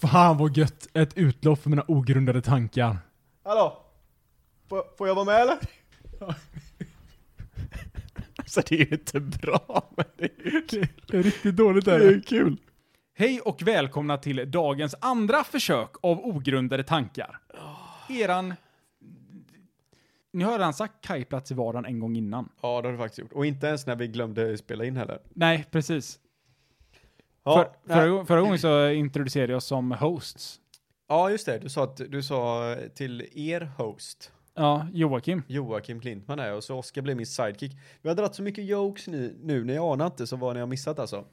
Fan vad gött! Ett utlopp för mina ogrundade tankar. Hallå? Får, får jag vara med eller? Alltså det är ju inte bra, men det är ju kul. Det är riktigt dåligt Det är ju kul. Hej och välkomna till dagens andra försök av ogrundade tankar. Eran... Ni har redan sagt kajplats i vardagen en gång innan. Ja, det har du faktiskt gjort. Och inte ens när vi glömde spela in heller. Nej, precis. Ja, För, förra, nej. gång- förra gången så introducerade jag oss som hosts. ja just det. Du sa, att, du sa eh, till er host, Ja, Joakim. Joakim Klintman här, och så Oskar blev min sidekick. Vi har dragit så mycket jokes nu, nu när jag anar inte så vad ni har missat alltså.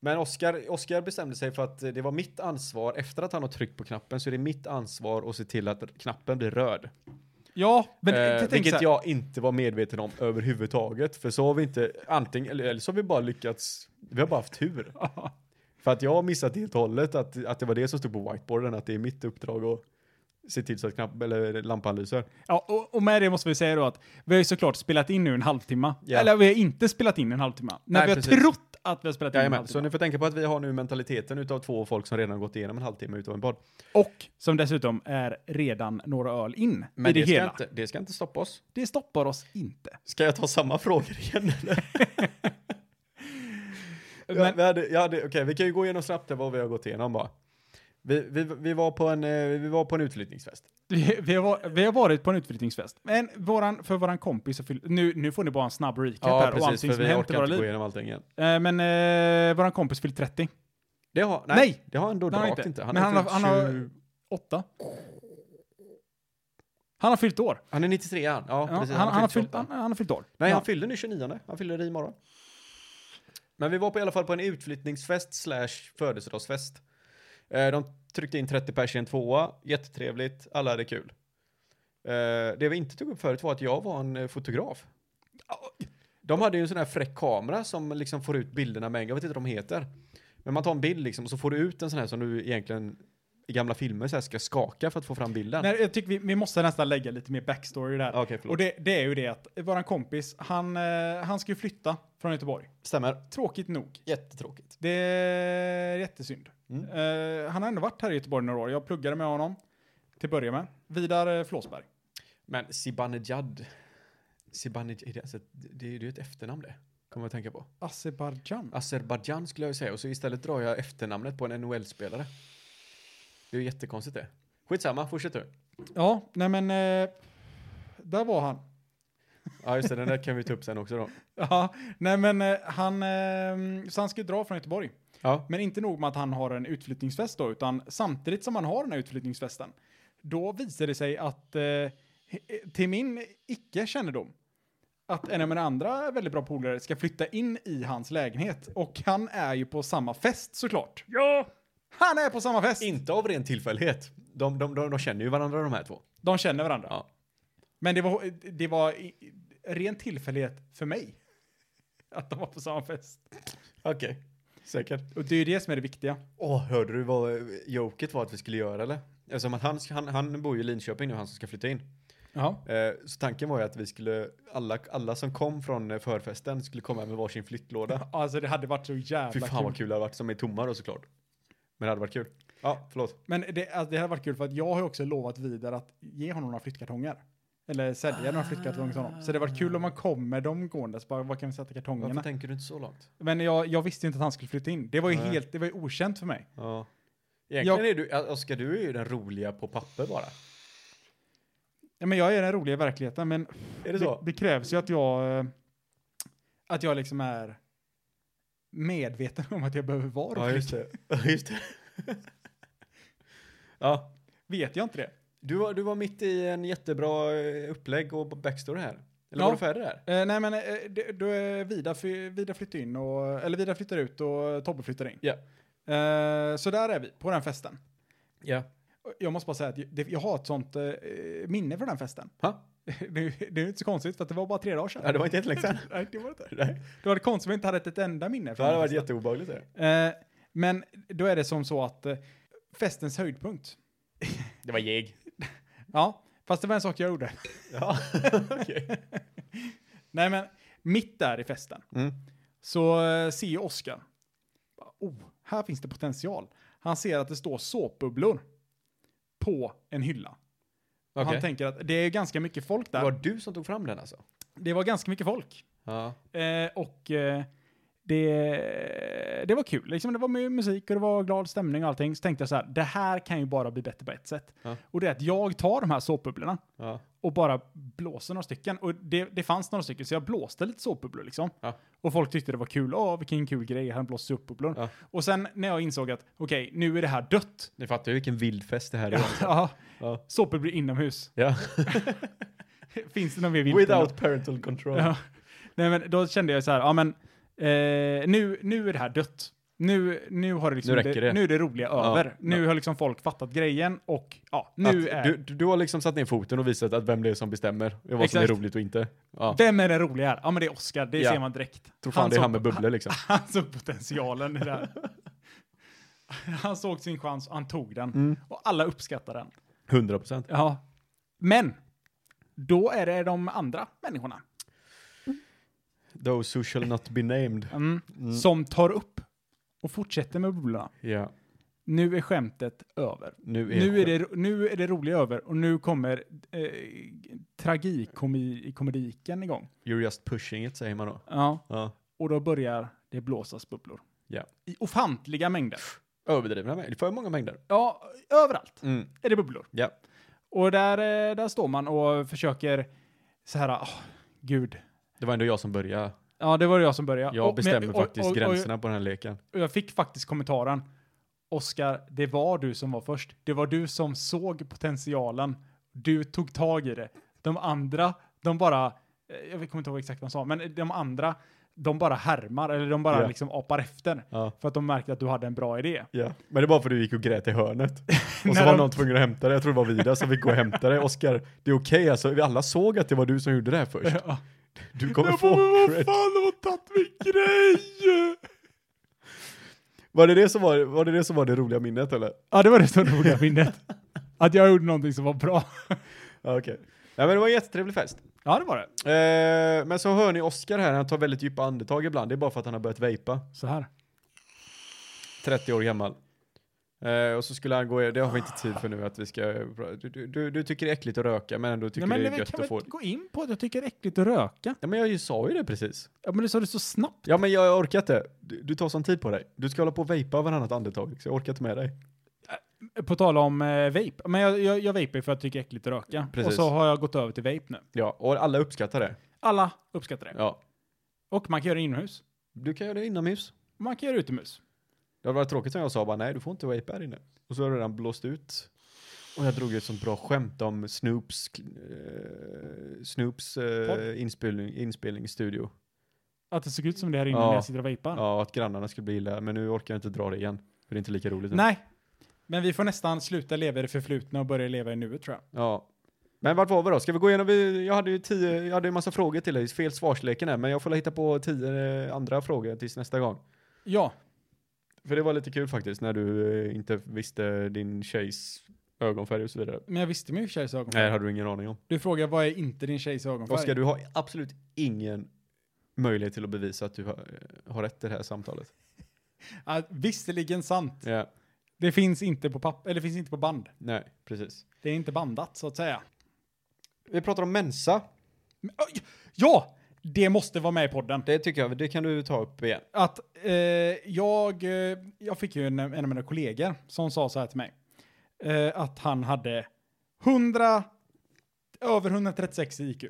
Men Oskar, Oskar bestämde sig för att eh, det var mitt ansvar, efter att han har tryckt på knappen, så är det mitt ansvar att se till att knappen blir röd. Ja, men Eh, jag tänker så vilket här, jag inte var medveten om överhuvudtaget. För så har vi inte, antingen, eller, eller så har vi bara lyckats, vi har bara haft tur. för att jag har missat helt och hållet att, att det var det som stod på whiteboarden, att det är mitt uppdrag att se till så att knapp, eller lampan lyser. Ja, och, och med det måste vi säga då att vi har ju såklart spelat in nu en halvtimme. Ja. Eller vi har inte spelat in en halvtimme. Nej, Nej, vi har precis. trott att vi har spelat in en Jajamän, så halvtimme. ni får tänka på att vi har nu mentaliteten utav två folk som redan gått igenom en halvtimme utav en podd. Och som dessutom är redan några öl in i det, det, hela. Ska inte, det ska inte stoppa oss. Det stoppar oss inte. Ska jag ta samma frågor igen eller? Men- Ja, vi hade, jag hade, okej, vi kan ju gå igenom snabbt här vad vi har gått igenom bara. Vi, vi, vi, var, på en, eh, vi var på en utflyttningsfest. Vi, vi, har, va- vi har varit på en utflyttningsfest. Men våran, för våran kompis, så fyll- nu, nu får ni bara en snabb recap här och allting för som vi hänt i orkar våra inte gå liv. igenom allting igen. Eh, men eh, våran kompis fyllde 30. Det har, nej, Nej! Det har ändå Det har han drakt inte. inte. Han, Men är han har- han, han har- 20, 8. Han har fyllt år. han är 93 han. Ja, Ja, han, precis. han, har fyllt, 28. han, han har fyllt år. Nej, Ja. han fyllde nu 29. Han fyller det imorgon. Men vi var på i alla fall på en utflyttningsfest slash födelsedagsfest. Eh, De tryckte in 30 pers i en tvåa. Jättetrevligt. Alla hade kul. Eh, Det vi inte tog upp förut var att jag var en eh, fotograf. De hade ju en sån här fräck kamera som liksom får ut bilderna med en gång. Jag vet inte vad de heter. Men man tar en bild liksom och så får du ut en sån här som du egentligen i gamla filmer så här ska skaka för att få fram bilden. Nej, jag tycker vi, vi måste nästan lägga lite mer backstory där. Okej, förlåt. och det, det är ju det att våran kompis, han, eh, han ska ju flytta från Göteborg. Stämmer. Tråkigt nog. Jättetråkigt. Det är jättesynd. Mm. Eh, han har ändå varit här i Göteborg några år. Jag pluggade med honom till att börja med. Vidar eh, Flåsberg. Men Sibanejad. Sibanejad, är det, alltså, det, det är ju ett efternamn det. Kommer jag att tänka på. Azerbajdzjan. Azerbajdzjan skulle jag ju säga och så istället drar jag efternamnet på en NHL-spelare. Det är ju jättekonstigt det. Skitsamma, fortsätt du. Ja, nej men... Eh, där var han. Ja just det, den där kan vi ta upp sen också då. Ja, nej men eh, han... Eh, så han ska ju dra från Göteborg. Ja. Men inte nog med att han har en utflyttningsfest då, utan samtidigt som han har den här utflyttningsfesten, då visar det sig att, eh, he- till min icke-kännedom, att en av mina andra väldigt bra polare ska flytta in i hans lägenhet. Och han är ju på samma fest såklart. ja. Han är på samma fest! Inte av ren tillfällighet. De, de, de, de känner ju varandra de här två. De känner varandra. Ja. Men det var, det var i- i- ren tillfällighet för mig. Att de var på samma fest. Okej. Säkert. Och det är ju det som är det viktiga. Åh, hörde du vad eh, joket var att vi skulle göra eller? Eftersom att han, han, han bor ju i Linköping nu, han som ska flytta in. Ja. Eh, Så tanken var ju att vi skulle, alla, alla som kom från eh, förfesten skulle komma med varsin flyttlåda. Alltså det hade varit så jävla Fy fan kul. vad kul det hade varit, som är tomma då såklart. Men det hade varit kul. Ja, förlåt. Men det, alltså, det hade varit kul för att jag har ju också lovat Vidar att ge honom några flyttkartonger. Eller sälja några flyttkartonger till honom. Så det hade varit kul om man kom med dem gåendes. Bara, vad kan vi sätta Varför kartongerna? tänker du inte så långt? Men jag, jag visste ju inte att han skulle flytta in. Det var ju Nej. helt, det var ju okänt för mig. Ja. Egentligen är du, Ö- Oskar du är ju den roliga på papper bara. Ja, men jag är den roliga i verkligheten, men Är det så? det krävs ju att jag, eh, att jag liksom är medveten om att jag behöver vara Ja, rolig. just det. Ja, just det. ja. Vet jag inte det? Du var, du var mitt i en jättebra eh, upplägg och backstory här. Eller Ja. var du färdig där? Eh, nej, men eh, det, då är Vida, fly- Vida flyttar in och, eller Vida flyttar ut och Tobbe flyttar in. Ja. Eh, så där är vi, på den festen. Ja. Och Jag måste bara säga att jag, det, jag har ett sånt eh, minne från den festen. Ha? Det, är- det är inte så konstigt för att det var bara tre dagar sedan. Ja, det var inte jättelänge sedan. Nej, det var inte. Nej. Det var det konstigt om jag inte hade ett enda minne Det från hade den varit festen. jätteobehagligt det. Eh, men då är det som så att eh, festens höjdpunkt. Det var jag. Ja, fast det var en sak jag gjorde. Ja, okej. Nej, men mitt där i festen Mm. så eh, ser ju Oskar. Oh, här finns det potential. Han ser att det står såpbubblor på en hylla. Okej. Han tänker att det är ganska mycket folk Det där. var du som tog fram den alltså? Det var ganska mycket folk. Ja. Eh, och eh, det, det var kul. Liksom, det var mu- musik och det var glad stämning och allting. Så tänkte jag så här, det här kan ju bara bli bättre på ett sätt. Ja. Och det är att jag tar de här såpbubblorna ja. och bara blåser några stycken. Och det, det fanns några stycken, så jag blåste lite såpbubblor liksom. Ja. Och folk tyckte det var kul. Åh, vilken kul grej, han blåste såpbubblor. Ja. Och sen när jag insåg att, okej, nu är det här dött. Ni fattar ju vilken vild fest det här är. Ja, Ja. såpbubblor inomhus. ja. Finns det någon mer vilt? än- Without parental control. Ja. Nej men då kände jag så här, ja men eh, nu, nu är det här dött. Nu, nu har det liksom, Nu räcker det. nu är det roliga Ja, över. Nu ja. har liksom folk fattat grejen och ja, nu att är... du, du har liksom satt ner foten och visat att vem det är som bestämmer och vad som är Exakt. roligt och inte. Ja. Vem är den roliga här? Ja men det är Oscar, det Ja. ser man direkt. Tror fan det är såg- han med bubblor liksom. Han såg potentialen i det här. Han såg sin chans och han tog den. Mm. Och alla uppskattar den. 100 procent. Ja. Men, då är det de andra människorna Those who shall not be named. mm, som tar upp och fortsätter med bubblorna. Ja, Nu är skämtet över. nu är, Nu är, det, nu är det roliga över och nu kommer eh, tragikomediken igång. You're just pushing it säger man då. Ja, Ja. och då börjar det blåsas bubblor. Ja. I ofantliga mängder. Överdrivna mängder, för många mängder. Ja, överallt Mm. är det bubblor. Ja. Och där, eh, där står man och försöker så här, åh, gud. Det var ändå jag som började. Ja, det var jag som började. Jag Och- men- bestämmer och- faktiskt och- och- gränserna på den här leken. Och jag fick faktiskt kommentaren. Oskar, det var du som var först. Det var du som såg potentialen. Du tog tag i det. De andra, de bara, eh, jag kommer inte ihåg exakt vad han sa, men de andra, de bara härmar, eller de bara Ja. liksom apar efter. Ja. För att de märkte att du hade en bra idé. Ja. Men det är bara för att du gick och grät i hörnet. Och så När var de- någon tvungen att hämta dig. Jag tror det var Vida som fick gå och hämta dig. Oskar, det är okej alltså. Vi alla såg att det var du som gjorde det här först. Ja. Du kommer få cred. de har tagit min grej! Var det det, som var, var det det som var det roliga minnet eller? Ja, det var det så roliga minnet. Att jag gjorde någonting som var bra. Ja, okej. Ja, men det var en jättetrevlig fest. Ja, det var det. Eh, men så hör ni Oscar här, han tar väldigt djupa andetag ibland. Det är bara för att han har börjat vejpa. Så här. 30 år gammal. Eh, och så skulle han gå, det har vi inte tid för nu att vi ska, du, du, du, du tycker det är äckligt att röka men ändå tycker Nej, men det vi är gött kan att få. väl gå in på att jag tycker det är äckligt att röka. Ja men jag ju sa ju det precis. Ja, men du sa det så snabbt. Ja men jag orkar inte. Du, du tar sån tid på dig. Du ska hålla på och vejpa varannat andetag, så jag orkar inte med dig. På tal om eh, vape. Men jag, jag, jag vapar ju för att jag tycker det är äckligt att röka. Precis. Och så har jag gått över till vape nu. Ja, och alla uppskattar det. Alla uppskattar det. Ja. Och man kan göra det inomhus. Du kan göra det inomhus. Man kan göra det utomhus. Det hade varit tråkigt om jag sa bara nej, du får inte vejpa här inne. Och så har du redan blåst ut. Och jag drog ju ett sånt bra skämt om Snoops, eh, Snoops Podd. eh, inspelning, inspelningsstudio. Att det såg ut som det här inne Ja. när jag sitter och vapar. Ja, och att grannarna skulle bli illa, men nu orkar jag inte dra det igen. För det är inte lika roligt. nu. Nej. Men vi får nästan sluta leva i det förflutna och börja leva i nuet tror jag. Ja. Men vart var vi då? Ska vi gå igenom? vi- Jag hade ju tio, jag hade en massa frågor till dig. Fel svarsleken här, men jag får väl hitta på tio eh, andra frågor tills nästa gång. Ja. För det var lite kul faktiskt när du eh, inte visste din tjejs ögonfärg och så vidare. Men jag visste min tjejs ögonfärg. Nej, det hade du ingen aning om. Du frågar vad är inte din tjejs ögonfärg? Oskar, du har absolut ingen möjlighet till att bevisa att du har, eh, har rätt i det här samtalet. Ja, visserligen sant. Ja, Det finns inte på papp eller det finns inte på band. nej, precis. Det är inte bandat så att säga. Vi pratar om Mensa. Men, oj! ja! Det måste vara med i podden. Det tycker jag, det kan du ta upp igen. att eh, jag, eh, jag fick ju en, en av mina kollegor som sa så här till mig. Eh, att han hade 100, över 136 i IQ.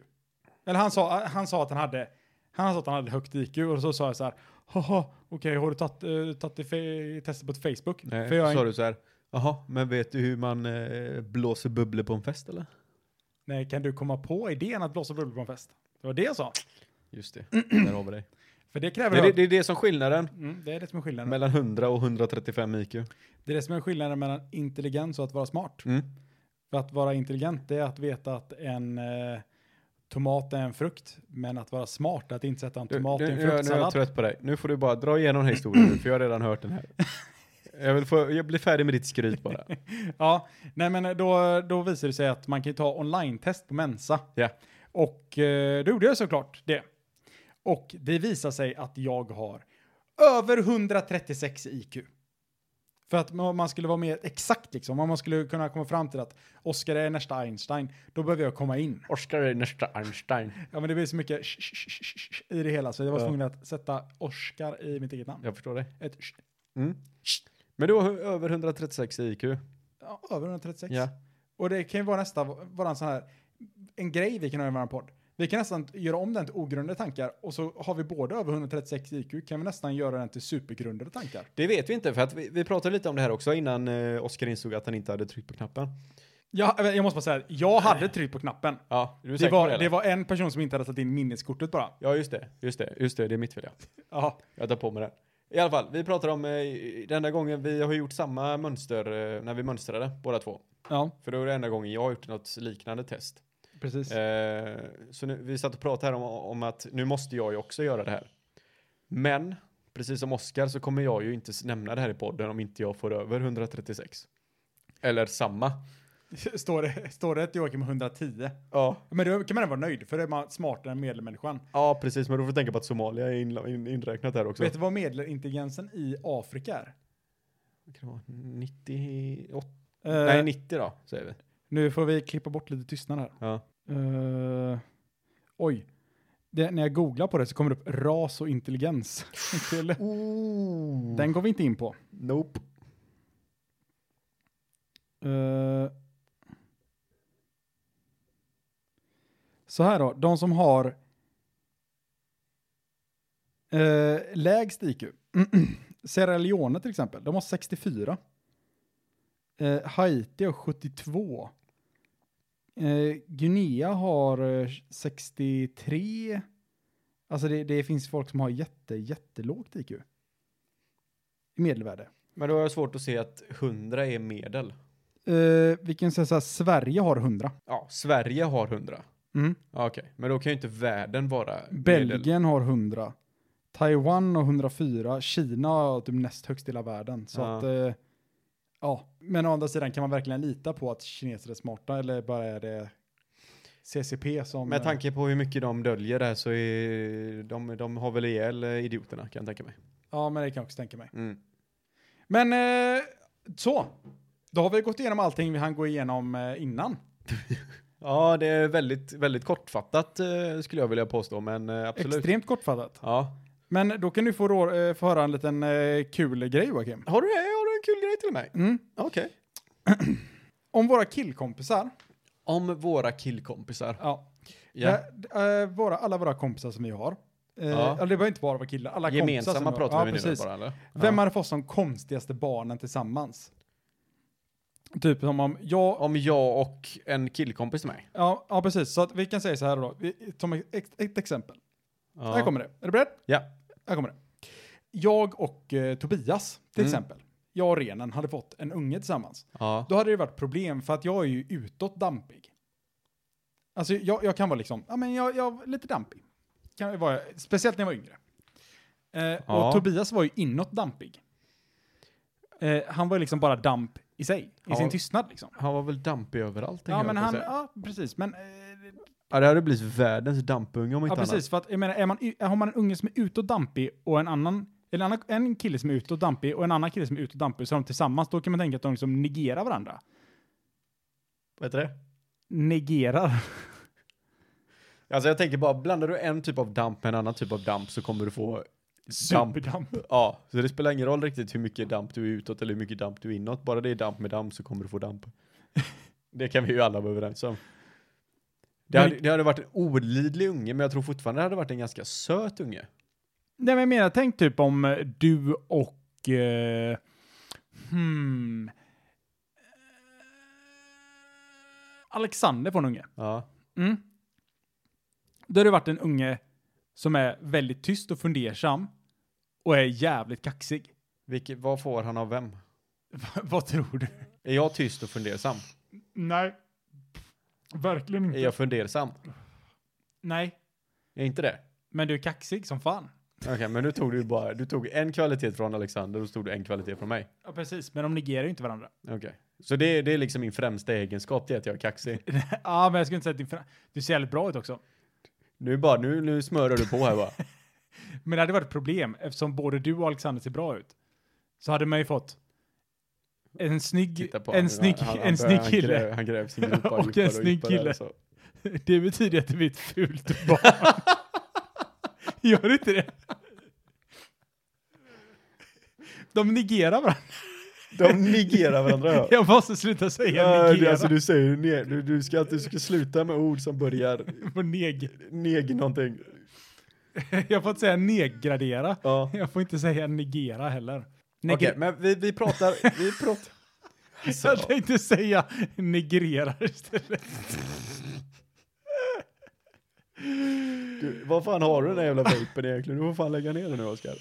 Eller han sa, eh, han sa att han hade, han sa att han hade högt IQ och så sa jag så här, haha, okej har du tagit, eh, tagit det fe- testet på Facebook? Nej, För jag, är sa inte- du så här. Jaha, men vet du hur man eh, blåser bubblor på en fest eller? nej, kan du komma på idén att blåsa bubblor på en fest? Det var det jag sa. Just det, där har vi dig. För det kräver Men det, hög- det är det som är skillnaden mm, det är det som är skillnaden. mellan 100 och 135 IQ. det är det som är skillnaden mellan intelligens och att vara smart. Mm. För att vara intelligent det är att veta att en eh, tomat är en frukt, men att vara smart är att inte sätta en Du, tomat nu, i en nu, är- nu är jag fruktsallad. trött på dig. Nu får du bara dra igenom den här historien nu, för jag har redan hört den här. Jag vill få, jag blir färdig med ditt skryt bara. ja, nej men eh, då, då visar det sig att man kan ju ta online-test på Mensa. Ja. Och eh, då gjorde jag såklart det. Och det visar sig att jag har över 136 IQ. För att om man skulle vara mer exakt liksom, om man skulle kunna komma fram till att Oscar är nästa Einstein, då behöver jag komma in. Oscar är nästa Einstein. Ja men det blir så mycket sh- sh- sh- sh- sh- i det hela så jag var Ja. tvungen att sätta Oscar i mitt eget namn. Jag förstår det. Ett sh- Men du har hu- över 136 i IQ. ja, över 136. Ja. Och det kan ju vara nästa, vara en sån här, en grej vi kan ha i våran podd. Vi kan nästan göra om den till ogrundade tankar och så har vi både över 136 IQ kan vi nästan göra den till supergrundade tankar. Det vet vi inte för att vi, vi pratade lite om det här också innan eh, Oscar insåg att han inte hade tryckt på knappen. Jag, jag måste bara säga, jag hade tryckt på knappen. Ja, du är Det säker på var, det, det eller? var en person som inte hade satt in minneskortet bara. Ja, just det. Just det. Just det. Det är mitt fel, ja. Ja, Jag tar på mig det. I alla fall, vi pratar om eh, den enda gången vi har gjort samma mönster eh, när vi mönstrade båda två. ja För det var det enda gången jag har gjort något liknande test. precis. Eh, så nu, vi satt och pratade här om, om att nu måste jag ju också göra det här. Men, precis som Oscar så kommer jag ju inte s- nämna det här i podden om inte jag får över 136. Eller samma. Står, det, står det ett Joakim 110? Ja. Men då kan man ändå vara nöjd, för då är man smartare än medelmänniskan. Ja, precis. Men då får du tänka på att Somalia är inla- in, inräknat här också. Vet du vad medelintelligensen i Afrika är? Vad kan det vara? 98? Eh, Nej, 90 då, säger vi. Nu får vi klippa bort lite tystnad här. Ja. Eh, oj. Det, när jag googlar på det så kommer det upp ras och intelligens. Till. Oh. Den går vi inte in på. Nope. Eh, så här då, de som har eh, lägst IQ, Sierra Leone till exempel, de har 64. Eh, Haiti har 72. Eh, Guinea har eh, 63. Alltså det, det finns folk som har jätte, jättelågt IQ. I medelvärde. Men då har jag svårt att se att 100 är medel. Eh, vi kan säga så här, Sverige har 100. Ja, Sverige har 100. Mm. Ja, Okej, men då kan ju inte världen vara medel. Belgien har 100. Taiwan har 104. Kina har typ näst högst i hela världen. Så Ja. att, eh, ja. Men å andra sidan kan man verkligen lita på att kineser är smarta eller bara är det CCP som... Med tanke på hur mycket de döljer där så är de, de har väl ihjäl eh, idioterna kan jag tänka mig. Ja, men det kan jag också tänka mig. Mm. Men eh, så. Då har vi gått igenom allting vi hann gå igenom eh, innan. Ja, det är väldigt, väldigt kortfattat eh, skulle jag vilja påstå, men eh, absolut. Extremt kortfattat. Ja. Men då kan du få, rå, eh, få höra en liten eh, kul grej, Joakim. Har du, det? har du en kul grej till mig? Mm. Okej. Om våra killkompisar, Om våra killkompisar. ja, Ja. Ja, eh, våra, alla våra kompisar som vi har. Eh, Ja. eller Det behöver inte bara vara killar. Alla kompisar som Gemensamma har- pratar ja, vi nu precis. bara eller? Vem ja. hade fått de konstigaste barnen tillsammans? Typ som om jag... Om jag och en killkompis till mig. Ja, ja precis. Så att vi kan säga så här då. Vi, som ett, ett exempel. Ja. Här kommer det. Är du beredd? Ja. Här kommer det. Jag och eh, Tobias, till Mm. exempel. Jag och Renen hade fått en unge tillsammans. Ja. Då hade det varit problem för att jag är ju utåt dampig. Alltså jag, jag kan vara liksom, ja men jag, jag är lite dampig. Kan jag vara, speciellt när jag var yngre. Eh, Ja. Och Tobias var ju inåt dampig. Eh, han var ju liksom bara damp i sig, i Ja. sin tystnad liksom. Han var väl dampig överallt? tänker Ja jag men på han, sig. ja precis, men... Eh, Ja, det hade blivit världens dampunge om inte ja precis, för att jag menar, är man, y- har man en unge som är utåt dampig och en annan, eller annan, en kille som är utåt dampig och en annan kille som är utåt dampig, så är de tillsammans, då kan man tänka att de liksom negerar varandra. Vad heter det? Negerar. Alltså jag tänker bara, blandar du en typ av damp med en annan typ av damp så kommer du få damp. Superdamp. Ja, så det spelar ingen roll riktigt hur mycket damp du är utåt eller hur mycket damp du är inåt. Bara det är damp med damp så kommer du få damp. det kan vi ju alla vara överens om. Det Men- hade, det hade varit en olidlig unge, men jag tror fortfarande det hade varit en ganska söt unge. Nej men jag menar, tänk typ om eh, du och... Eh, hmm... Alexander får en unge. Ja, Mm. Då har det varit en unge som är väldigt tyst och fundersam och är jävligt kaxig. Vilket, vad får han av vem? Vad tror du? Är jag tyst och fundersam? Nej. Verkligen Är jag fundersam? Nej. Är inte det? Men du är kaxig som fan. Okej, men nu tog du ju bara, du tog en kvalitet från Alexander och så tog du en kvalitet från mig. Ja, precis. Men de negerar ju inte varandra. Okej. Så det, det är liksom min främsta egenskap, det är att jag är kaxig. Ja, ah, men jag skulle inte säga att din fra- du ser jävligt bra ut också. Nu bara, nu, nu smörar du på här bara. Men det hade varit ett problem eftersom både du och Alexander ser bra ut. Så hade man ju fått en snygg, Titta på en han. snygg, Han- han en börjar- snygg kille. Han gräver, han gräver sin gropa Och en djupare snygg djupare, kille. så. Det betyder att det blir ett fult barn. Gör inte det? De negerar varandra. De negerar varandra. ja. Jag måste sluta säga Ja, du, negera. alltså du säger ju ne- du, du, ska, du ska sluta med ord som börjar På neg. neg någonting. Jag får inte säga neggradera. Ja. Jag får inte säga negera heller. Negre- Okej, men vi, vi pratar, vi pratar. Så. Jag tänkte säga negrera istället. Du, vad fan har du den här jävla vapen egentligen? Du får fan lägga ner den nu Oskar.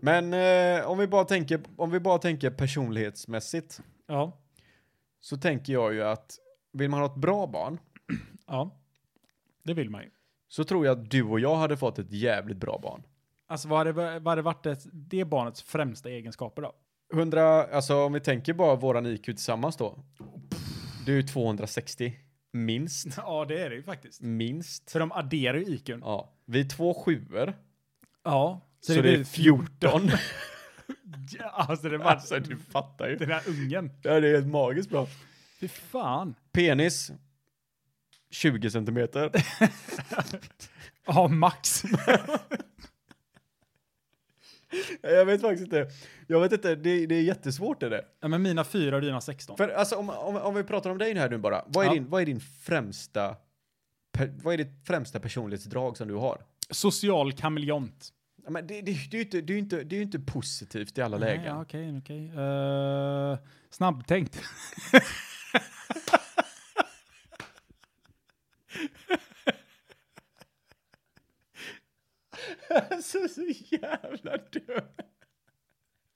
Men eh, om, vi bara tänker, om vi bara tänker personlighetsmässigt Ja, så tänker jag ju att vill man ha ett bra barn ja. Det vill man ju. så tror jag att du och jag hade fått ett jävligt bra barn. Alltså vad hade, vad hade varit det, det barnets främsta egenskaper då? 100, alltså om vi tänker bara våran IQ tillsammans då. Du är 260, minst. Ja, det är det ju faktiskt. Minst. För de adderar ju IQn. Ja. Vi är två sjuor. Ja. Så, det, är 14. Ja, Alltså det var alltså du fattar ju. den där ungen. Ja, det är helt magiskt bra. Fy fan. Penis. 20 centimeter. Ja, max. Jag vet faktiskt inte. Jag vet inte, det, det är jättesvårt är det. ja, men mina fyra och dina 16. För alltså om, om, om vi pratar om dig här nu bara. Vad är, Ja. din, vad är din främsta, per, vad är ditt främsta personlighetsdrag som du har? Social kameleont. Ja, Men det, det, det, är ju inte, det, är ju inte, det är ju inte positivt i alla lägen. Ja, okej, okej. Eh, snabbtänkt. Alltså så jävla dum.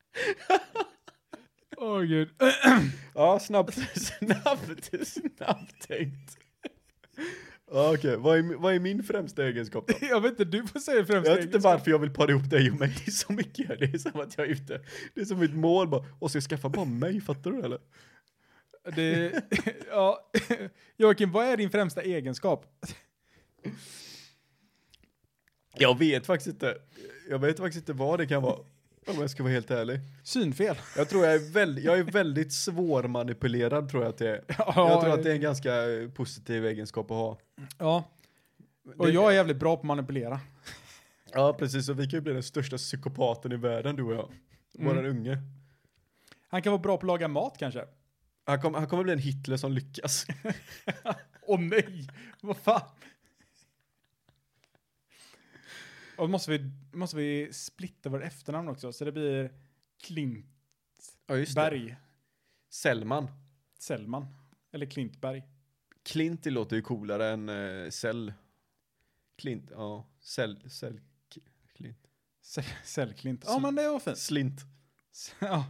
Åh gud. Ja, snabbt, snabbt, snabbt tänkt. Ja, Okej, vad, är, vad är min främsta egenskap då? jag vet inte, du får säga främst. Jag vet inte varför jag vill para ihop dig och mig så mycket. Det är som att jag är ute. Det är som mitt mål bara. Och ska jag skaffa bara mig, fattar du eller? Det, ja. Joakim, vad är din främsta egenskap? Jag vet faktiskt inte. Jag vet faktiskt inte vad det kan vara. Om jag ska vara helt ärlig. Synfel. Jag tror jag är väldigt, jag är väldigt svårmanipulerad tror jag att det är. Jag tror att det är en ganska eh, positiv egenskap att ha. Ja. Och Det- jag är jävligt bra på att manipulera. Ja, precis. Och vi kan ju bli den största psykopaten i världen, du och jag. Våran unge. Han kan vara bra på att laga mat kanske. Han, kom, han kommer bli en Hitler som lyckas. Åh nej, vad fan. Och måste vi, måste vi splitta vårt efternamn också, så det blir Klintberg. Ja, just det. Sellman. Sellman. Eller Klintberg. Klinti låter ju coolare än uh, Cell. Klint, ja. Cell, cell, k- klint. Sell- Sellklint. Ja, Sl- men det var fint. Slint. Ja,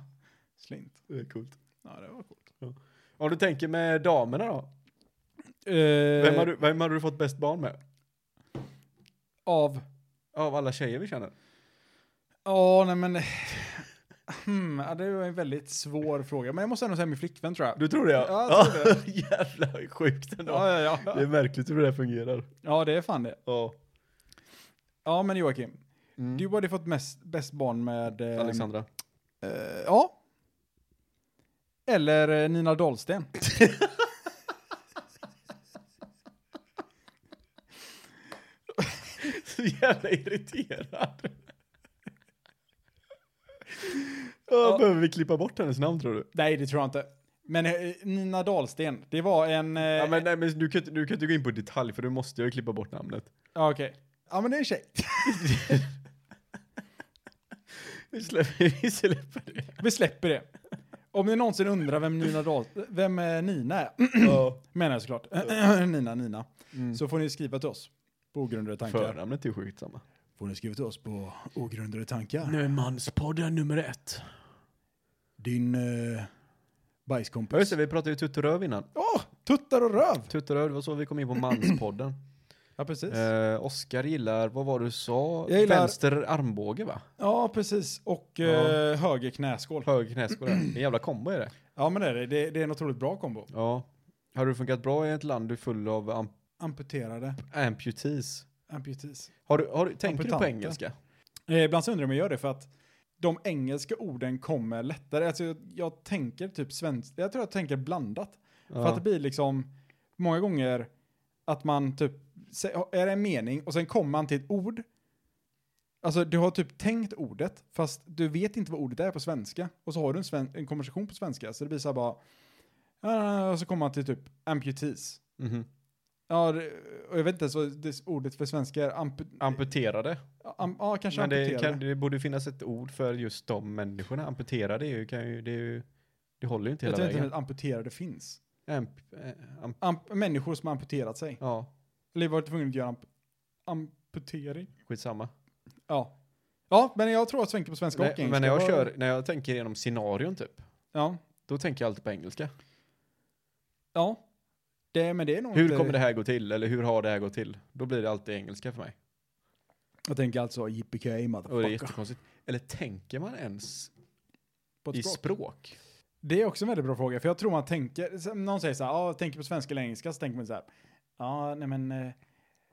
slint. Det är coolt. Ja, det var coolt. Om du tänker med damerna då? Eh, Vem har du, vem har du fått bäst barn med? Av? Av alla tjejer vi känner? Ja, nej men... Hmm, ja, det var en väldigt svår fråga, men jag måste ändå säga min flickvän tror jag. Du tror det ja? Ja, jag tror Jävla sjukt ändå. Ja, ja, Det är ja. märkligt hur det där fungerar. ja, det är fan det. Ja. Ja, men Joakim. Mm. Du hade fått mest, bäst barn med... eh, Alexandra. eh, ja. Eller eh, Nina Dahlsten. Så jävla irriterad. Ja. Behöver vi klippa bort hennes namn tror du? Nej, det tror jag inte. Men eh, Nina Dahlsten, det var en... Eh, Ja, men, nej, men du, kan, inte- du kan inte gå in på detalj för du måste ju klippa bort namnet. ja, okej. Ja, men det är en tjej. Vi släpper, vi släpper det. Vi släpper det. Om ni någonsin undrar vem Nina Dahl, vem eh, Nina är, Ja. Mm. menar jag såklart. Nina, Nina. Så får ni skriva till oss på ogrundade tankar. Förnamnet är ju sjukt samma. Får ni skriva till oss på ogrundade tankar. Manspodden nummer ett. Din eh, Ja just bajskompis. det, vi pratade ju tutteröv innan. Åh, tuttar och röv! Tutteröv, det var så vi kom in på manspodden. Ja, precis. eh, Oskar gillar, vad var det du sa? Jag gillar- Vänster armbåge va? Ja, precis. Och ja. höger knäskål. Höger knäskål där. En jävla kombo är det. Ja, men det är det. Det, det är en otroligt bra kombo. Ja. Hade det funkat bra i ett land du är full av am- Amputerade. amputees? Amputees. Har du, har du, tänker du på Amputanter. engelska? Eh, ibland så undrar jag om jag gör det för att de engelska orden kommer lättare. Alltså jag, jag tänker typ svenskt, jag tror jag tänker blandat. För att det blir liksom många gånger att man typ, sä- är det en mening och sen kommer man till ett ord. Alltså du har typ tänkt ordet fast du vet inte vad ordet är på svenska. Och så har du en, sven- en konversation på svenska så det blir så här bara, "Ah", och så kommer man till typ amputees. Mhm. Ja, det- och jag vet inte ens vad det ordet för svenska är. Ampu, Amputerade. am, ja, kanske Men det, amputerade. kan, det borde ju finnas ett ord för just de människorna. Amputerade är ju, kan ju, det, är ju, det håller ju inte jag hela tror inte vägen. att amputerade finns. Amp, eh, amp, Amp, människor som har amputerat sig. ja, Eller varit tvungna att göra amp, amputering. skitsamma. Ja. Ja, men jag tror att svänker på svenska och Nej, engelska. men när jag, Vad- kör, när jag tänker igenom scenarion typ, Ja. då tänker jag alltid på engelska. ja. Det, men det är nog Hur inte, kommer det här gå till? Eller hur har det här gått till? Då blir det alltid engelska för mig. Jag tänker alltså yippee Och det är motherfucker. jättekonstigt. Eller tänker man ens På ett i språk. språk? Det är också en väldigt bra fråga, för jag tror man tänker, så- någon säger så här, ja, tänker på svenska eller engelska, så tänker man så här, ja, nej men, eh,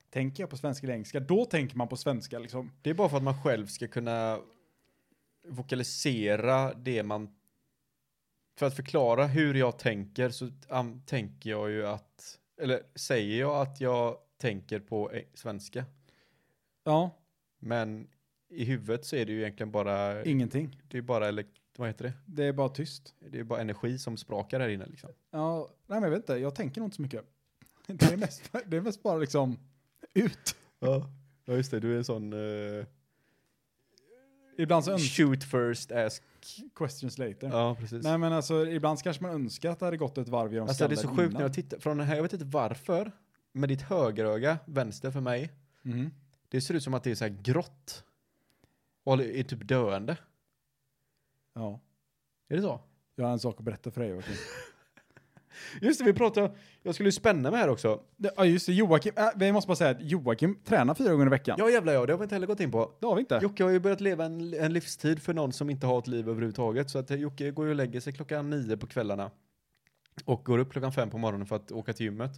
tänker jag på svenska eller engelska, då tänker man på svenska liksom. Det är bara för att man själv ska kunna vokalisera det man... För att förklara hur jag tänker så am- tänker jag ju att... Eller säger jag att jag tänker på eh, svenska. Ja, Men i huvudet så är det ju egentligen bara... ingenting. Det är bara... elek- Vad heter det? Det är bara tyst. Det är bara energi som sprakar här inne liksom. Ja, nej men jag vet inte, jag tänker nog inte så mycket. Det är mest, det är mest bara liksom ut. Ja, ja just det. Du är en sån... eh, Ibland så önskar shoot first, ask... questions later. Ja, precis. Nej men alltså, ibland så kanske man önskar att det hade gått ett varv genom Alltså det är så skallen sjukt när innan. jag tittar från den här, jag vet inte varför, men ditt högeröga, vänster för mig, Mhm. det ser ut som att det är så här grått. Och det är typ döende. Ja, Är det så? jag har en sak att berätta för dig. Joakim. Just det, vi pratade, jag skulle ju spänna mig här också. Det- Ja just det, Joakim, äh, vi måste bara säga att Joakim tränar fyra gånger i veckan. Ja jävlar ja, det har vi inte heller gått in på. Det har vi inte. Jocke har ju börjat leva en, en livstid för någon som inte har ett liv överhuvudtaget. Så att eh, Jocke går ju och lägger sig klockan nio på kvällarna. Och går upp klockan fem på morgonen för att åka till gymmet.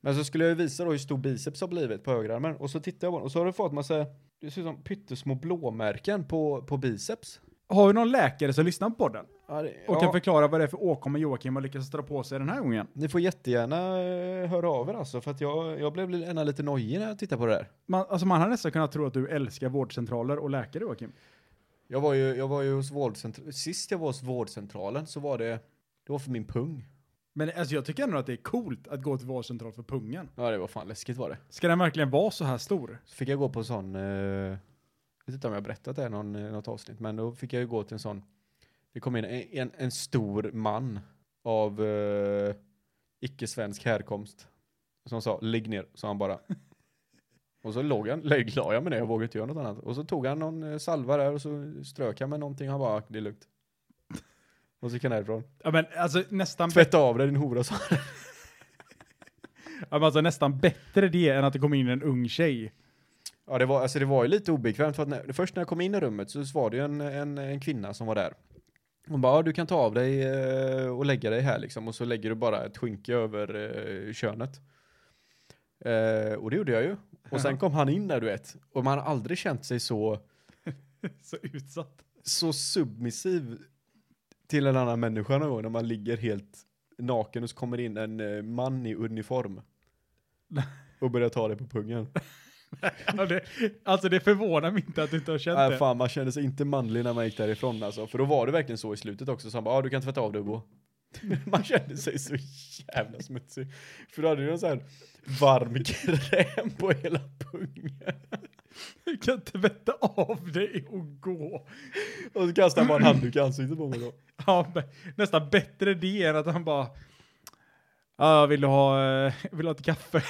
Men så skulle jag ju visa då hur stor biceps har blivit på högerarmen. Och så tittar jag på den och så har du fått massa, det ser ut som pyttesmå blåmärken på, på biceps. Har vi någon läkare som lyssnar på den? Ja, det- Och ja, kan förklara vad det är för åkomma Joakim har lyckats dra på sig den här gången? Ni får jättegärna eh, höra av er alltså. För att jag, jag blev li- ena lite nojig när jag tittade på det där. Man, alltså man hade nästan kunnat tro att du älskar vårdcentraler och läkare Joakim. Jag var ju, jag var ju hos vårdcentralen, sist jag var hos vårdcentralen så var det, det var för min pung. Men alltså jag tycker ändå att det är coolt att gå till vårdcentral för pungen. Ja det var fan läskigt var det. Ska den verkligen vara så här stor? Så fick jag gå på en sån, eh, jag vet inte om jag har berättat det här i någon, eh, något avsnitt, men då fick jag ju gå till en sån, det kom in en, en, en stor man av eh, icke-svensk härkomst som sa ligg ner, sa han bara. och så låg han, lägg- la jag mig ner, jag vågade inte göra något annat. Och så tog han någon eh, salva där och så strök han med någonting, han bara, "Ah, det är lugnt. Och så gick han härifrån. Ja men alltså nästan, bä- Tvätta av dig din hora, sa han. ja, men alltså, nästan bättre det än att det kommer in en ung tjej. Ja, det var, alltså det var ju lite obekvämt för att när, först när jag kom in i rummet så var det ju en, en, en kvinna som var där. Hon bara, "Ja, du kan ta av dig eh, och lägga dig här liksom och så lägger du bara ett skynke över eh, könet. Eh, och det gjorde jag ju. Och sen kom han in där du vet. Och man har aldrig känt sig så, Så utsatt. så submissiv till en annan människa någon gång när man ligger helt naken och så kommer in en eh, man i uniform. Och börjar ta dig på pungen. Ja, det, alltså det förvånar mig inte att du inte har känt Nej, det. Äh, fan man kände sig inte manlig när man gick därifrån alltså. För då var det verkligen så i slutet också. Så han bara, ah, du kan tvätta av dig och gå. man kände sig så jävla smutsig. För då hade du en sån här varm kräm på hela pungen. Du kan tvätta av dig och gå. Och så kastade han bara en handduk i ansiktet på mig då. Ja, men nästan bättre det än att han bara... Ja, vill du ha, eh, vill du ha ett kaffe?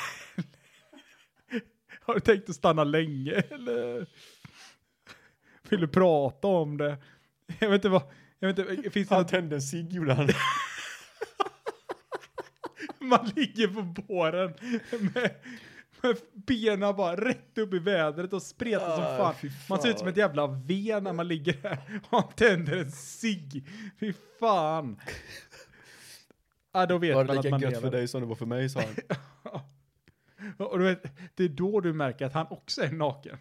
Har du tänkt att stanna länge eller? Vill du prata om det? Jag vet inte vad... Jag vet inte, finns det Han något tände en cigg gjorde han. man ligger på båren med, med benen bara rätt upp i vädret och spretar Ah, som fan. fy fan. Man ser ut som ett jävla V när man ligger där och tänder en cigg. Fy fan. Ja, då vet Var man det att man lika gött lever. för dig som det var för mig sa han. Och du vet, det är då du märker att han också är naken.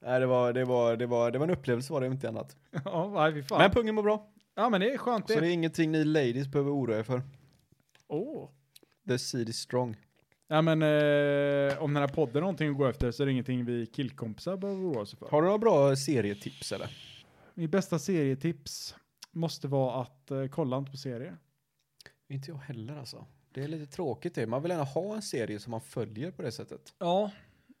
Nej, det var, det var, det var, det var en upplevelse var det inte annat. Ja, nej, fy fan. Men pungen mår bra. ja, men det är skönt Så Alltså, det det. är ingenting ni ladies behöver oroa er för. Åh. The seed is strong. Ja, men eh, om den här podden har någonting att gå efter så är det ingenting vi killkompisar behöver oroa oss för. Har du några bra serietips eller? Min bästa serietips måste vara att eh, kolla inte på serier. Inte jag heller alltså. Det är lite tråkigt det. Man vill gärna ha en serie som man följer på det sättet. Ja,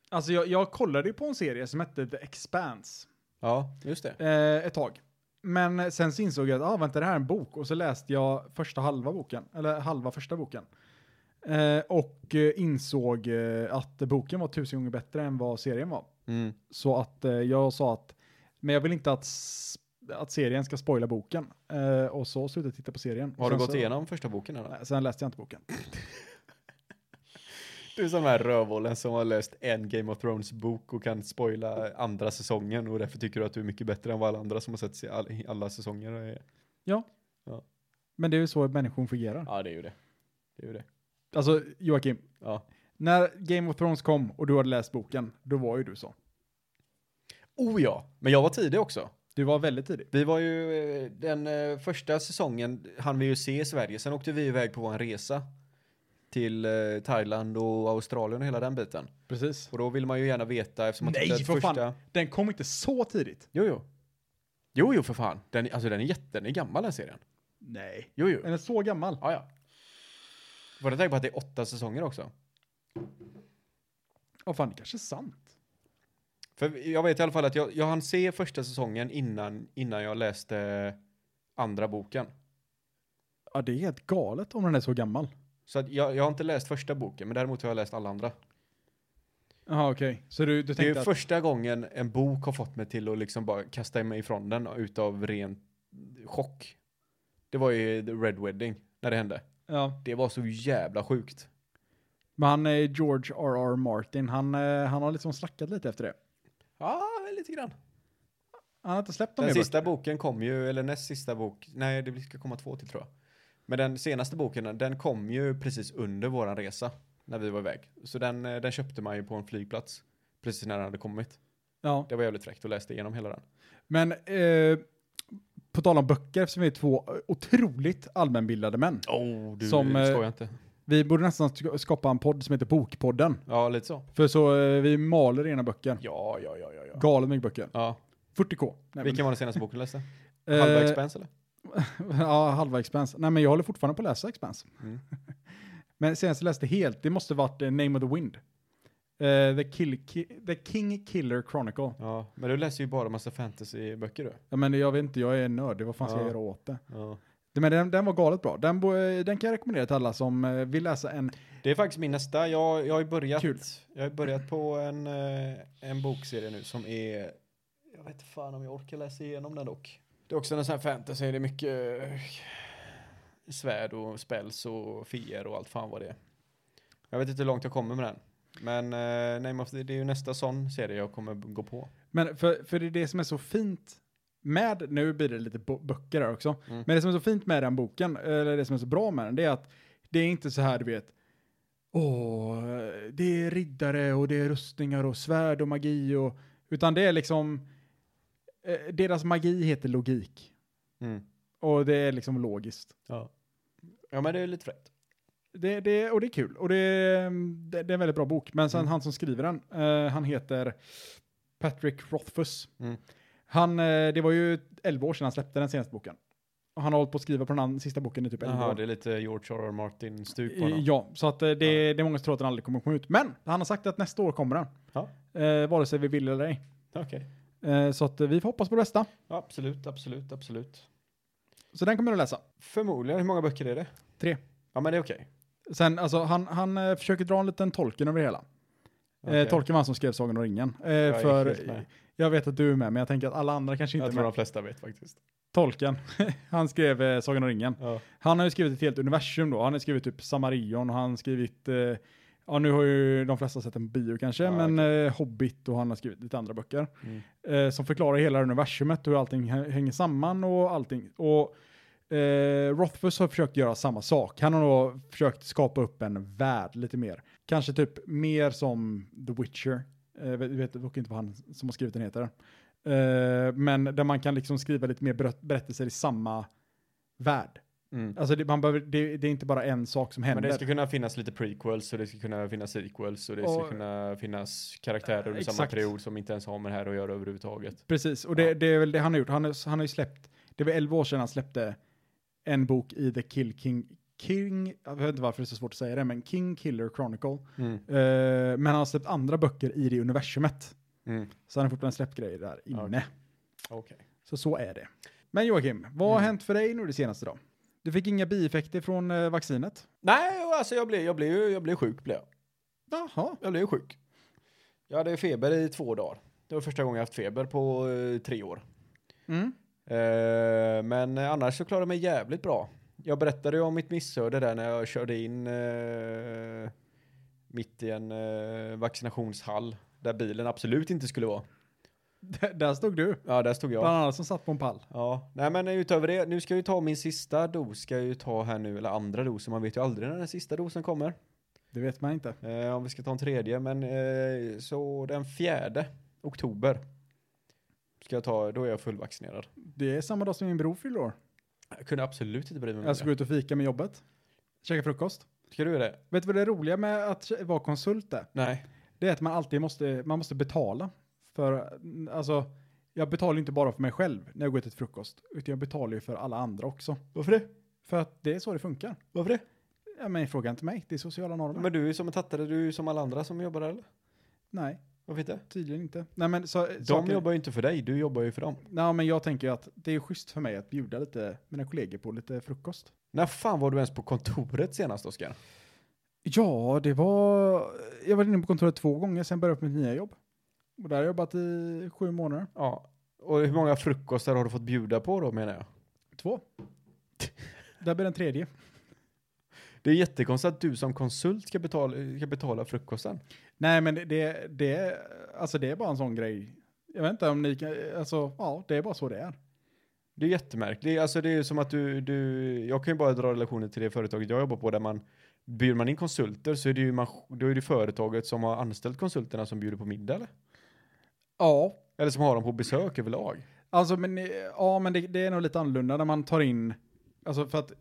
alltså jag, jag kollade ju på en serie som hette The Expanse Ja, just det. eh, ett tag. Men sen så insåg jag att, ah, vänta, det här är en bok. Och så läste jag första halva boken, eller halva första boken. Eh, och eh, insåg eh, att boken var tusen gånger bättre än vad serien var. Mm. Så att eh, jag sa att, men jag vill inte att, s- att serien ska spoila boken. Eh, och så slutade jag titta på serien. Har du Sen gått så, igenom första boken eller? Nej, sen läste jag inte boken. Du är som den här rövhålen som har läst en Game of Thrones bok och kan spoila andra säsongen och därför tycker du att du är mycket bättre än vad alla andra som har sett se- all- alla säsonger. är. Ja. Ja. Men det är ju så människan fungerar. Ja, det är ju det. Det är ju det. Alltså, Joakim, Ja. när Game of Thrones kom och du hade läst boken, då var ju du så. Oh ja, men jag var tidig också. Du var väldigt tidig. Vi var ju, eh, den eh, första säsongen hann vi ju se i Sverige, sen åkte vi iväg på vår resa till eh, Thailand och Australien och hela den biten. Precis. Och då vill man ju gärna veta eftersom man Nej, tyckte att för fan. första... Den kom inte så tidigt. Jo, jo. Jo, jo, för fan. Den, alltså den är jätte, den är gammal den serien. Nej. Jo, jo. Den är så gammal. Ja, ja. Får du tänka på att det är åtta säsonger också? Ja, fan, det kanske är sant. För jag vet i alla fall att jag, jag hann se första säsongen innan, innan jag läste andra boken. Ja, det är helt galet om den är så gammal. Så att jag, jag har inte läst första boken, men däremot har jag läst alla andra. Jaha, okej. Så du, du Det är ju tänkte att... första gången en bok har fått mig till att liksom bara kasta mig ifrån den utav ren chock. Det var ju The Red Wedding, när det hände. Ja. Det var så jävla sjukt. Men han, eh, George R.R. Martin, han, eh, han har liksom slackat lite efter det. Ja, lite grann. Han har inte släppt dem Den sista boken kom ju, eller näst sista bok, nej det ska komma två till tror jag. Men den senaste boken, den kom ju precis under våran resa när vi var iväg. Så den, eh, den köpte man ju på en flygplats precis när den hade kommit. Ja. Det var jävligt fräckt och läste igenom hela den. Men eh, på tal om böcker, eftersom vi är två eh, otroligt allmänbildade män. Oh, du skojar skojar inte. Vi borde nästan sk- skapa en podd som heter Bokpodden. Ja, lite så. För så eh, vi maler rena böcker. Ja, ja, ja, ja. ja. Galet mycket böcker. ja. 40k. Nej, Vilken var den senaste boken du läste? men, Halva eh, Expense eller? Ja, halva expense. Nej, men jag håller fortfarande på att läsa expense. Mm. men senast jag läste helt, det måste varit eh, Name of the Wind. Eh, the, Kill, Ki- the King Killer Chronicle. Ja, men du läser ju bara massa fantasyböcker du. Ja, men jag vet inte, jag är nörd. Vad fan ska jag Ja. göra åt det? Ja. Det- Men den, den var galet bra. Den, bo- eh, den kan jag rekommendera till alla som eh, vill läsa en... Det är faktiskt min nästa. Jag, jag har ju börjat. Kul. Jag har ju börjat på en, eh, en bokserie nu som är. Jag vet inte fan om jag orkar läsa igenom den dock. Det är också en sån här fantasy. Det är mycket eh, svärd och spells och fier och allt fan vad det är. Jag vet inte hur långt jag kommer med den. Men eh, Name of the, det är ju nästa sån serie jag kommer b- gå på. Men för, för det är det som är så fint med, nu blir det lite bo- böcker här också, Mm. men det som är så fint med den boken, eller det som är så bra med den, det är att det är inte så här du vet, åh, det är riddare och det är rustningar och svärd och magi och, utan det är liksom, eh, deras magi heter logik Mm. och det är liksom logiskt. Ja. Ja men det är lite fräckt. Det, det, och det är kul. Och det, det, det är en väldigt bra bok. Men sen Mm. han som skriver den, eh, han heter Patrick Rothfuss. Mm. Han, eh, det var ju 11 år sedan han släppte den senaste boken. Och han har hållit på att skriva på den andra- sista boken i typ 11 Jaha, år. det är lite George R. R. Martin-stuk typ på Eh, honom. Ja, så att eh, det, det är många som tror att den aldrig kommer komma ut. Men han har sagt att nästa år kommer den. Ja. Eh, vare sig vi vill eller ej. Okej. Eh, så att eh, vi får hoppas på det bästa. Ja, absolut, absolut, absolut. Så den kommer jag att läsa. Förmodligen, hur många böcker är det? Tre. Ja, men det är okej. Sen, alltså han, han eh, försöker dra en liten tolken över det hela. Eh, Okej. tolken var han som skrev Sagan om ringen. Eh, Jag är för helt med. jag vet att du är med, men jag tänker att alla andra kanske inte Jag är tror med. de flesta vet faktiskt. Tolken, han skrev eh, Sagan om ringen. Ja. Han har ju skrivit ett helt universum då. Han har skrivit typ Samarion och han har skrivit, eh, ja nu har ju de flesta sett den på bio kanske, Ja, men eh, Hobbit och han har skrivit lite andra böcker. Mm. Eh, som förklarar hela universumet, hur allting hä- hänger samman och allting. Och eh, Rothfuss har försökt göra samma sak. Han har då försökt skapa upp en värld lite mer. Kanske typ mer som The Witcher. Jag vet, vet dock inte vad han som har skrivit den heter. Eh, men där man kan liksom skriva lite mer berö- berättelser i samma värld. Mm. Alltså det, man behöver, det, det är inte bara en sak som händer. Men det ska kunna finnas lite prequels och det ska kunna finnas sequels och det ska Och- kunna finnas karaktärer under samma Exakt. period som inte ens har med det här att göra överhuvudtaget. Precis, och det, Ja. det är väl det han har gjort. Han, har- han har ju släppt, det var 11 år sedan han släppte en bok i The Kill King, King, jag vet inte varför det är så svårt att säga det, men King Killer Chronicle. Eh, men han har släppt andra böcker i det universumet. Mm. Så han har fortfarande släppt grejer där inne. Okej. Okej. Så så är det. Men Joakim, vad har Mm. hänt för dig nu det senaste då? Du fick inga bieffekter från eh, vaccinet? Nej, och alltså jag blev, jag blev, ju- jag blev sjuk blev jag. Jaha, Jag blev sjuk. Jag hade feber i två dagar. Det var första gången jag haft feber på eh, tre år. mm. Eh, men eh, annars så klarade jag mig jävligt bra. Jag berättade ju om mitt missöde där när jag körde in eh, mitt i en eh, vaccinationshall där bilen absolut inte skulle vara. D- där stod du. Ja, där stod jag. Bland annat som satt på en pall. Ja, nej men utöver det, nu ska jag ju ta min sista dos, ska jag ju ta här nu, eller andra dosen, man vet ju aldrig när den sista dosen kommer. Det vet man inte. Eh, om vi ska ta en tredje, men eh, så den fjärde oktober ska jag ta, då är jag fullvaccinerad. Det är samma dag som min bror fyller år. Jag kunde absolut inte bry mig om Jag ska gå det. ut och fika med jobbet. Käka frukost. Ska du göra det? Vet du vad det roliga med att vara konsult är? Nej. Det är att man alltid måste, man måste betala. För, alltså, jag betalar ju inte bara för mig själv när jag går ut till frukost. Utan jag betalar ju för alla andra också. Varför det? För att det är så det funkar. Varför det? Ja, men fråga inte mig, det är sociala normer. Men du är ju som en tattare, du är ju som alla andra som jobbar där eller? Nej, Varför inte? tydligen inte. Nej, men så, De saker- jobbar ju inte för dig, du jobbar ju för dem. Nej, men jag tänker ju att det är schysst för mig att bjuda lite mina kollegor på lite frukost. När fan var du ens på kontoret senast Oskar? Ja, det var... Jag var inne på kontoret två gånger, sen började jag på mitt nya jobb. Och där har jag jobbat i sju månader. Ja. Och hur många frukostar har du fått bjuda på då menar jag? Två. där blir den tredje. Det är jättekonstigt att du som konsult ska betala, ska betala frukosten. Nej, men det, det, det, alltså det är bara en sån grej. Jag vet inte om ni kan, alltså ja, det är bara så det är. Det är jättemärkligt. Alltså det är som att du, du, jag kan ju bara dra relationen till det företaget jag jobbar på där man bjuder man in konsulter så är det ju man, då är det företaget som har anställt konsulterna som bjuder på middag eller? Ja. Eller som har dem på besök överlag. Alltså, men eh, ja, men det, det är nog lite annorlunda när man tar in, alltså för att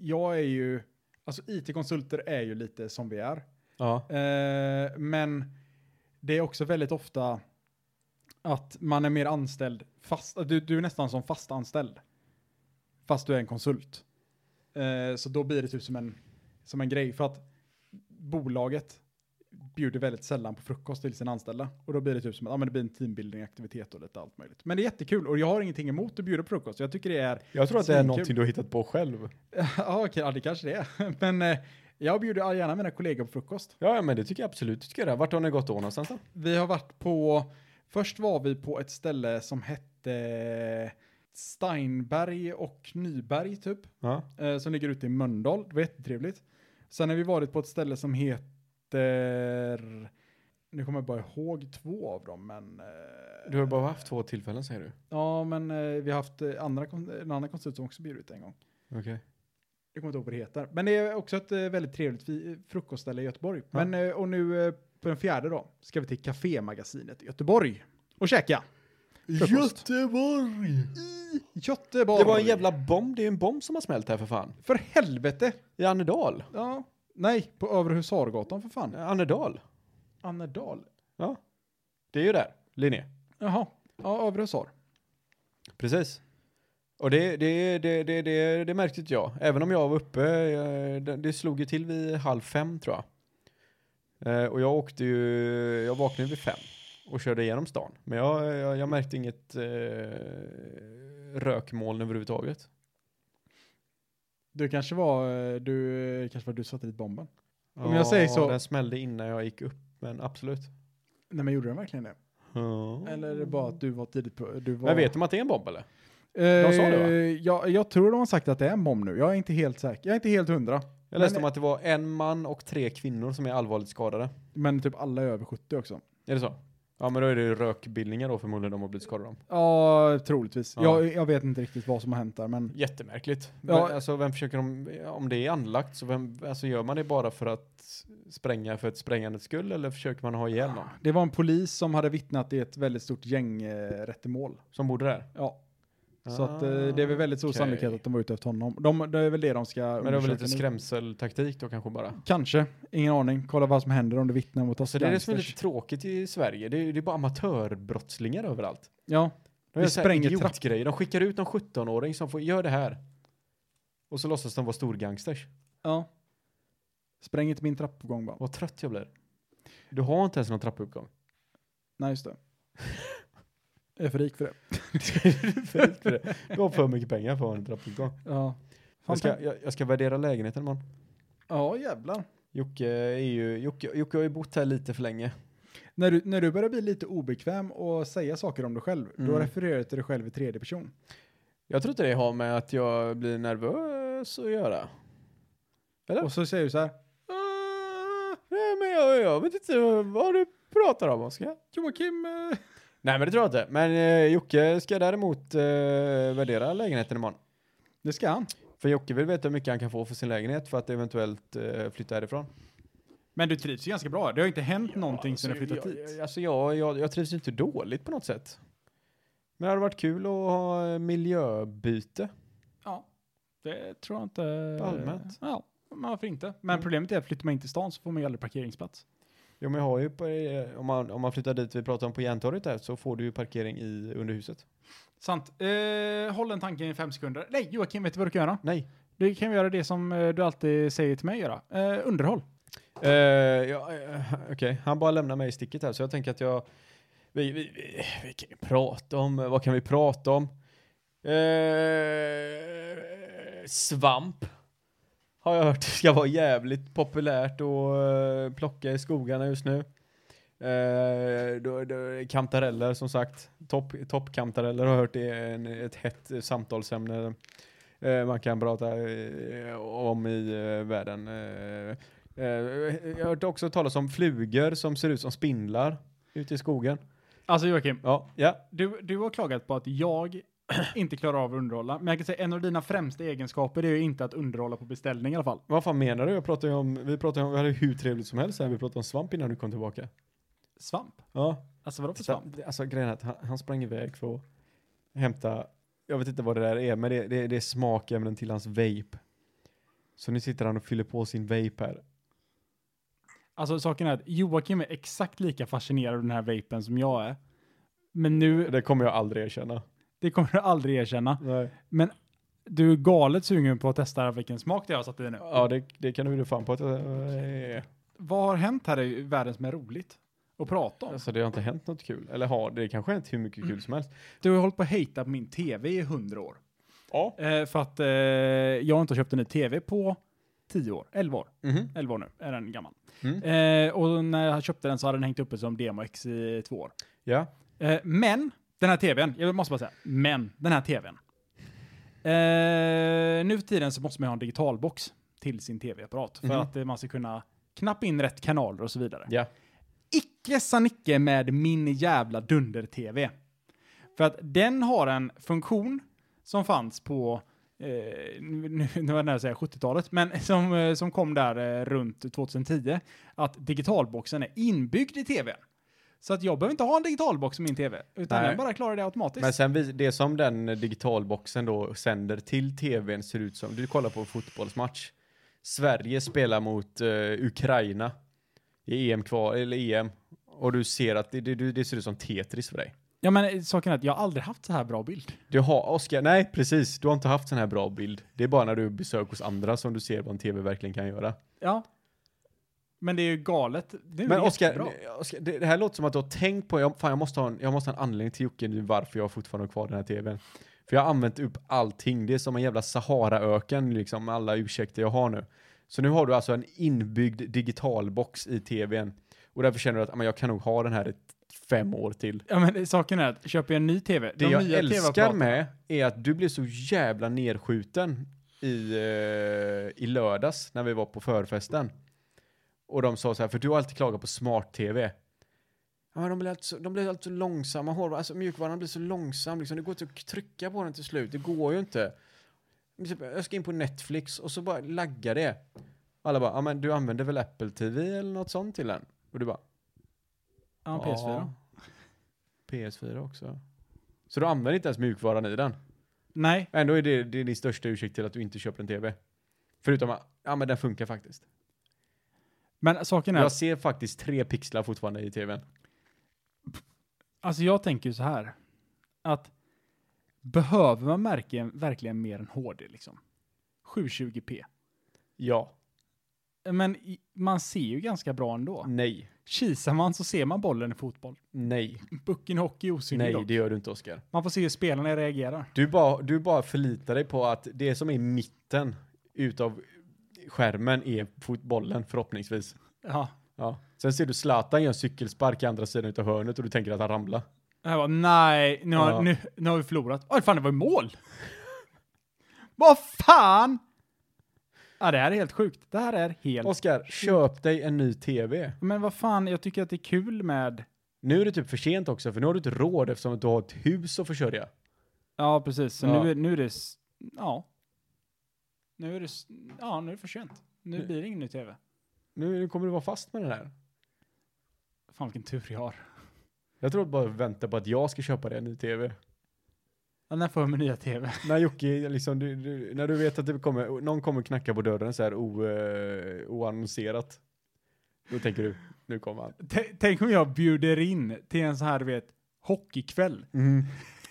jag är ju, alltså it-konsulter är ju lite som vi är. Ja. Eh, men det är också väldigt ofta att man är mer anställd fast, du, du är nästan som fast anställd. Fast du är en konsult. Eh, så då blir det typ som en, som en grej för att bolaget bjuder väldigt sällan på frukost till sina anställda. Och då blir det typ som att ja, men det blir en teambuilding-aktivitet och lite allt möjligt. Men det är jättekul och jag har ingenting emot att bjuda på frukost. Jag tycker det är Jag tror att det är Svinkul. någonting du har hittat på själv. ja, okej, ja, det kanske det är. Men eh, jag bjuder gärna mina kollegor på frukost. Ja, ja, men det tycker jag absolut du ska göra. Vart har ni gått då någonstans då? Vi har varit på, först var vi på ett ställe som hette Steinberg och Nyberg typ, Ja. eh, som ligger ute i Mölndal. Det var jättetrevligt. Sen har vi varit på ett ställe som heter, nu kommer jag bara ihåg två av dem, men... eh, Du har bara haft två tillfällen säger du. Ja, men eh, vi har haft eh, andra, kon- en annan konsult som också bjudit en gång. Okej. Jag kommer inte ihåg vad det heter. Men det är också ett eh, väldigt trevligt fi- frukostställe i Göteborg. Ja. Men, eh, och nu eh, på den fjärde då ska vi till Cafémagasinet i Göteborg och käka. Frukost. Göteborg! I Göteborg! Det var en jävla bomb, det är ju en bomb som har smält här för fan. För helvete! I Annedal. Ja. Nej, på Övre Husargatan för fan. Annedal. Annedal. Ja. Det är ju där, Linné. Jaha. Ja, Övre Husar. Precis. Och det, det, det, det, det, det märkte inte jag. Även om jag var uppe, eh, det, det slog ju till vid halv fem tror jag. Eh, Och jag åkte ju, jag vaknade vid fem och körde igenom stan. Men jag, jag, jag märkte inget eh, rökmoln överhuvudtaget. Du kanske var eh, du, eh, kanske var du som satte dit bomben. Om jag säger så- Den smällde innan jag gick upp, men absolut. Nej, men gjorde den verkligen det? Eller är det bara att du var tidigt på... Du var, Men Mm. vet de att det är en bomb eller? de sa det, va? Jag, jag tror de har sagt att det är en bomb nu. Jag är inte helt säker. Jag är inte helt hundra. Jag läste Men- om att det var en man och tre kvinnor som är allvarligt skadade. Men typ alla är över 70 också. Är det så? Ja men då är det ju rökbildningar då förmodligen de har blivit skadade om. Ja, troligtvis. Ja. Jag, jag vet inte riktigt vad som har hänt där, men Jättemärkligt. Ja. Ja. Alltså vem försöker de, om det är anlagt så vem, alltså gör man det bara för att spränga för ett sprängandets skull eller försöker man ha ihjäl någon det var en polis som hade vittnat i ett väldigt stort gängrättemål. som bodde där? Ja. Så att eh, det är väl väldigt stor Ah, Okej. sannolikhet att de var ute efter honom. De, det är väl det de ska Men det var väl lite undersöka nu. skrämseltaktik då kanske bara? Kanske, ingen aning. Kolla vad som händer om du vittnar mot oss. Så det är det som är gangsters. lite tråkigt i Sverige. Det är, det är bara amatörbrottslingar överallt. Ja, De Vi gör så här spränger typ- trapp- idiotgrejer. De skickar ut någon 17-åring som får, gör det här. Och så låtsas de vara storgangsters. ja. Spräng inte min trappuppgång bara. Vad trött jag blir. Du har inte ens någon trappuppgång. Nej, just det. Jag är för rik för det. du har för mycket pengar för att ha en trappuppgång. Ja. Fan, Jag ska, jag, jag ska värdera lägenheten imorgon. Ja, jävlar. Jocke, är ju, Jocke, Jocke har ju bott här lite för länge. När du, när du börjar bli lite obekväm och säga saker om dig själv, då Mm. refererar du till dig själv i tredje person. Jag tror inte det har med att jag blir nervös att göra. Ja. Och så säger du så här, Ah, nej, men jag, jag vet inte vad du pratar om, Oskar. Joakim, eh, Nej, men det tror jag inte. Men eh, Jocke ska däremot eh, värdera lägenheten imorgon. det ska han. För Jocke vill veta hur mycket han kan få för sin lägenhet för att eventuellt eh, flytta härifrån. Men du trivs ju ganska bra. Det har inte hänt någonting sedan du Alltså, flyttat jag, hit. jag- Alltså jag, jag, jag trivs ju inte dåligt på något sätt. Men det hade varit kul att ha eh, miljöbyte. Ja, det tror jag inte. Allmänt. Ja, men varför inte? Men problemet är att flyttar man in till stan så får man ju aldrig parkeringsplats. Jo, men jag har ju på, eh, om, man, om man flyttar dit vi pratar om på Järntorget där så får du ju parkering i, under huset. Sant. Eh, håll en tanke i fem sekunder. Nej, Joakim, vet du vad du kan göra? Nej. Du kan göra det som eh, du alltid säger till mig göra. Eh, underhåll. Eh, ja, eh, Okej, han bara lämnar mig i sticket här så jag tänker att jag... Vi, vi, vi, vi kan ju prata om... Vad kan vi prata om? Eh, svamp. Har jag hört ska vara jävligt populärt att eh, plocka i skogarna just nu. Eh, då, då, kantareller som sagt. Topp top kantareller har jag hört är en, ett hett eh, samtalsämne. Eh, man kan prata eh, om i eh, världen. Eh, Eh, Jag har hört också talas om flugor som ser ut som spindlar ute i skogen. Alltså Joakim, Ja, ja. du, du har klagat på att jag inte klarar av att underhålla. Men jag kan säga en av dina främsta egenskaper är ju inte att underhålla på beställning i alla fall. Vad fan menar du? Jag pratar ju om, vi pratar ju om, vi hade hur trevligt som helst här. Vi pratade om svamp innan du kom tillbaka. Svamp? Ja. Alltså vadå för Så, svamp? alltså grejen är att han, han sprang iväg för att hämta, jag vet inte vad det där är, men det, det, det är smakämnen till hans vape. Så nu sitter han och fyller på sin vape här. Alltså saken är att Joakim är exakt lika fascinerad av den här vapen som jag är. Men nu, Det kommer jag aldrig erkänna. det kommer du aldrig erkänna. Nej. Men du är galet sugen på att testa vilken smak det är jag har satt i nu. Ja, det, det kan du ju fan på att eh, jag är. Vad har hänt här i världen som är roligt att prata om? Alltså det har inte hänt något kul. Eller har det kanske hänt hur mycket kul som helst. Du har hållit på att hejta på min tv i hundra år. Ja. Eh, för att eh, jag inte har köpt en ny tv på 10 år, 11 år. Mhm. 11 år nu är den gammal. Mm. Eh, och när jag köpte den så hade den hängt uppe som DMX i två år. Ja. Eh, men, den här tvn, jag måste bara säga, men den här tvn. Eh, nu för tiden så måste man ju ha en digitalbox till sin tv-apparat för Mhm. att eh, man ska kunna knappa in rätt kanaler och så vidare. Ja. Icke Sanicke med min jävla dunder-tv. För att den har en funktion som fanns på, eh, nu, nu nu var jag nära att säga 70-talet, men som, eh, som kom där eh, runt 2010, att digitalboxen är inbyggd i tvn. Så att jag behöver inte ha en digitalbox i min tv, utan Nej. den bara klarar det automatiskt. Men sen vis- det som den digitalboxen då sänder till tvn ser ut som, du kollar på en fotbollsmatch. Sverige spelar mot eh, Ukraina i EM kvar, eller EM. Och du ser att det, det, du- det ser ut som Tetris för dig. Ja men eh, saken är att jag har aldrig haft så här bra bild. Du har, Oskar, nej precis, du har inte haft sån här bra bild. Det är bara när du besöker hos andra som du ser vad en tv verkligen kan göra. Ja. Men det är ju galet. Det är Men ju Oskar, jättebra. Oskar, det, det här låter som att du har tänkt på, jag, fan, jag, måste ha en, jag måste ha en anledning till Jocke nu varför jag fortfarande har kvar den här tvn. För jag har använt upp allting, det är som en jävla Saharaöken liksom, med alla ursäkter jag har nu. Så nu har du alltså en inbyggd digitalbox i tvn. Och därför känner du att "Ah, men jag kan nog ha den här i t- fem år till. Ja men eh, saken är att köper jag en ny tv, Det de jag nya älskar TV-apparaterna- med är att du blev så jävla nedskjuten i, eh, i lördags när vi var på förfesten. Och de sa så här, för du har alltid klagat på smart-tv. Ja, de blir alltså, de blir alltså långsamma, hårdvaran, alltså mjukvaran blir så långsam liksom. Det går inte att trycka på den till slut, det går ju inte. Typ, Jag ska in på Netflix och så bara laggar det. Alla bara, ja men du använder väl Apple TV eller något sånt till den? Och du bara, Ja, PS4. PS4 också. Så du använder inte ens mjukvaran i den? Nej, Ändå är det, det är din största ursäkt till att du inte köper en TV. Förutom att, ja men den funkar faktiskt. men saken är, Jag ser faktiskt tre pixlar fortfarande i TVn. alltså jag tänker ju så här, att behöver man verkligen, verkligen mer än HD liksom? 720p. Ja. Men i- man ser ju ganska bra ändå. Nej. Kisar man så ser man bollen i fotboll. Nej. Bucken i hockey är osynlig Nej, dock. det gör du inte Oskar. Man får se hur spelarna reagerar. Du bara, du bara förlitar dig på att det som är i mitten utav skärmen är fotbollen förhoppningsvis. Ja. Ja. Sen ser du Zlatan göra en cykelspark i andra sidan utav hörnet och du tänker att han ramlar. Jag bara, nej, nu har, Ja. nu, nu har vi förlorat. Åh, fan, det var ju mål! Vad fan! Ja, det här är helt sjukt. Det här är helt... Oskar, köp dig en ny TV. Men vad fan, jag tycker att det är kul med... Nu är det typ för sent också, för nu har du inte råd eftersom att du har ett hus att försörja. Ja, precis. Så Ja. Nu, är, nu är det... s- Ja. Nu är det... s- Ja, nu är det för sent. Nu Nu- blir det ingen ny tv. Nu nu kommer du vara fast med den här. Fan, vilken tur jag har. Jag tror att bara vänta på att jag ska köpa dig en ny TV. Ja, när får jag min nya tv? När Jocke, liksom, du, du, när du vet att det kommer, någon kommer knacka på dörren så här o, eh, oannonserat. Då tänker du, nu kommer han. T- Tänk om jag bjuder in till en så här, du vet, hockeykväll. Mm.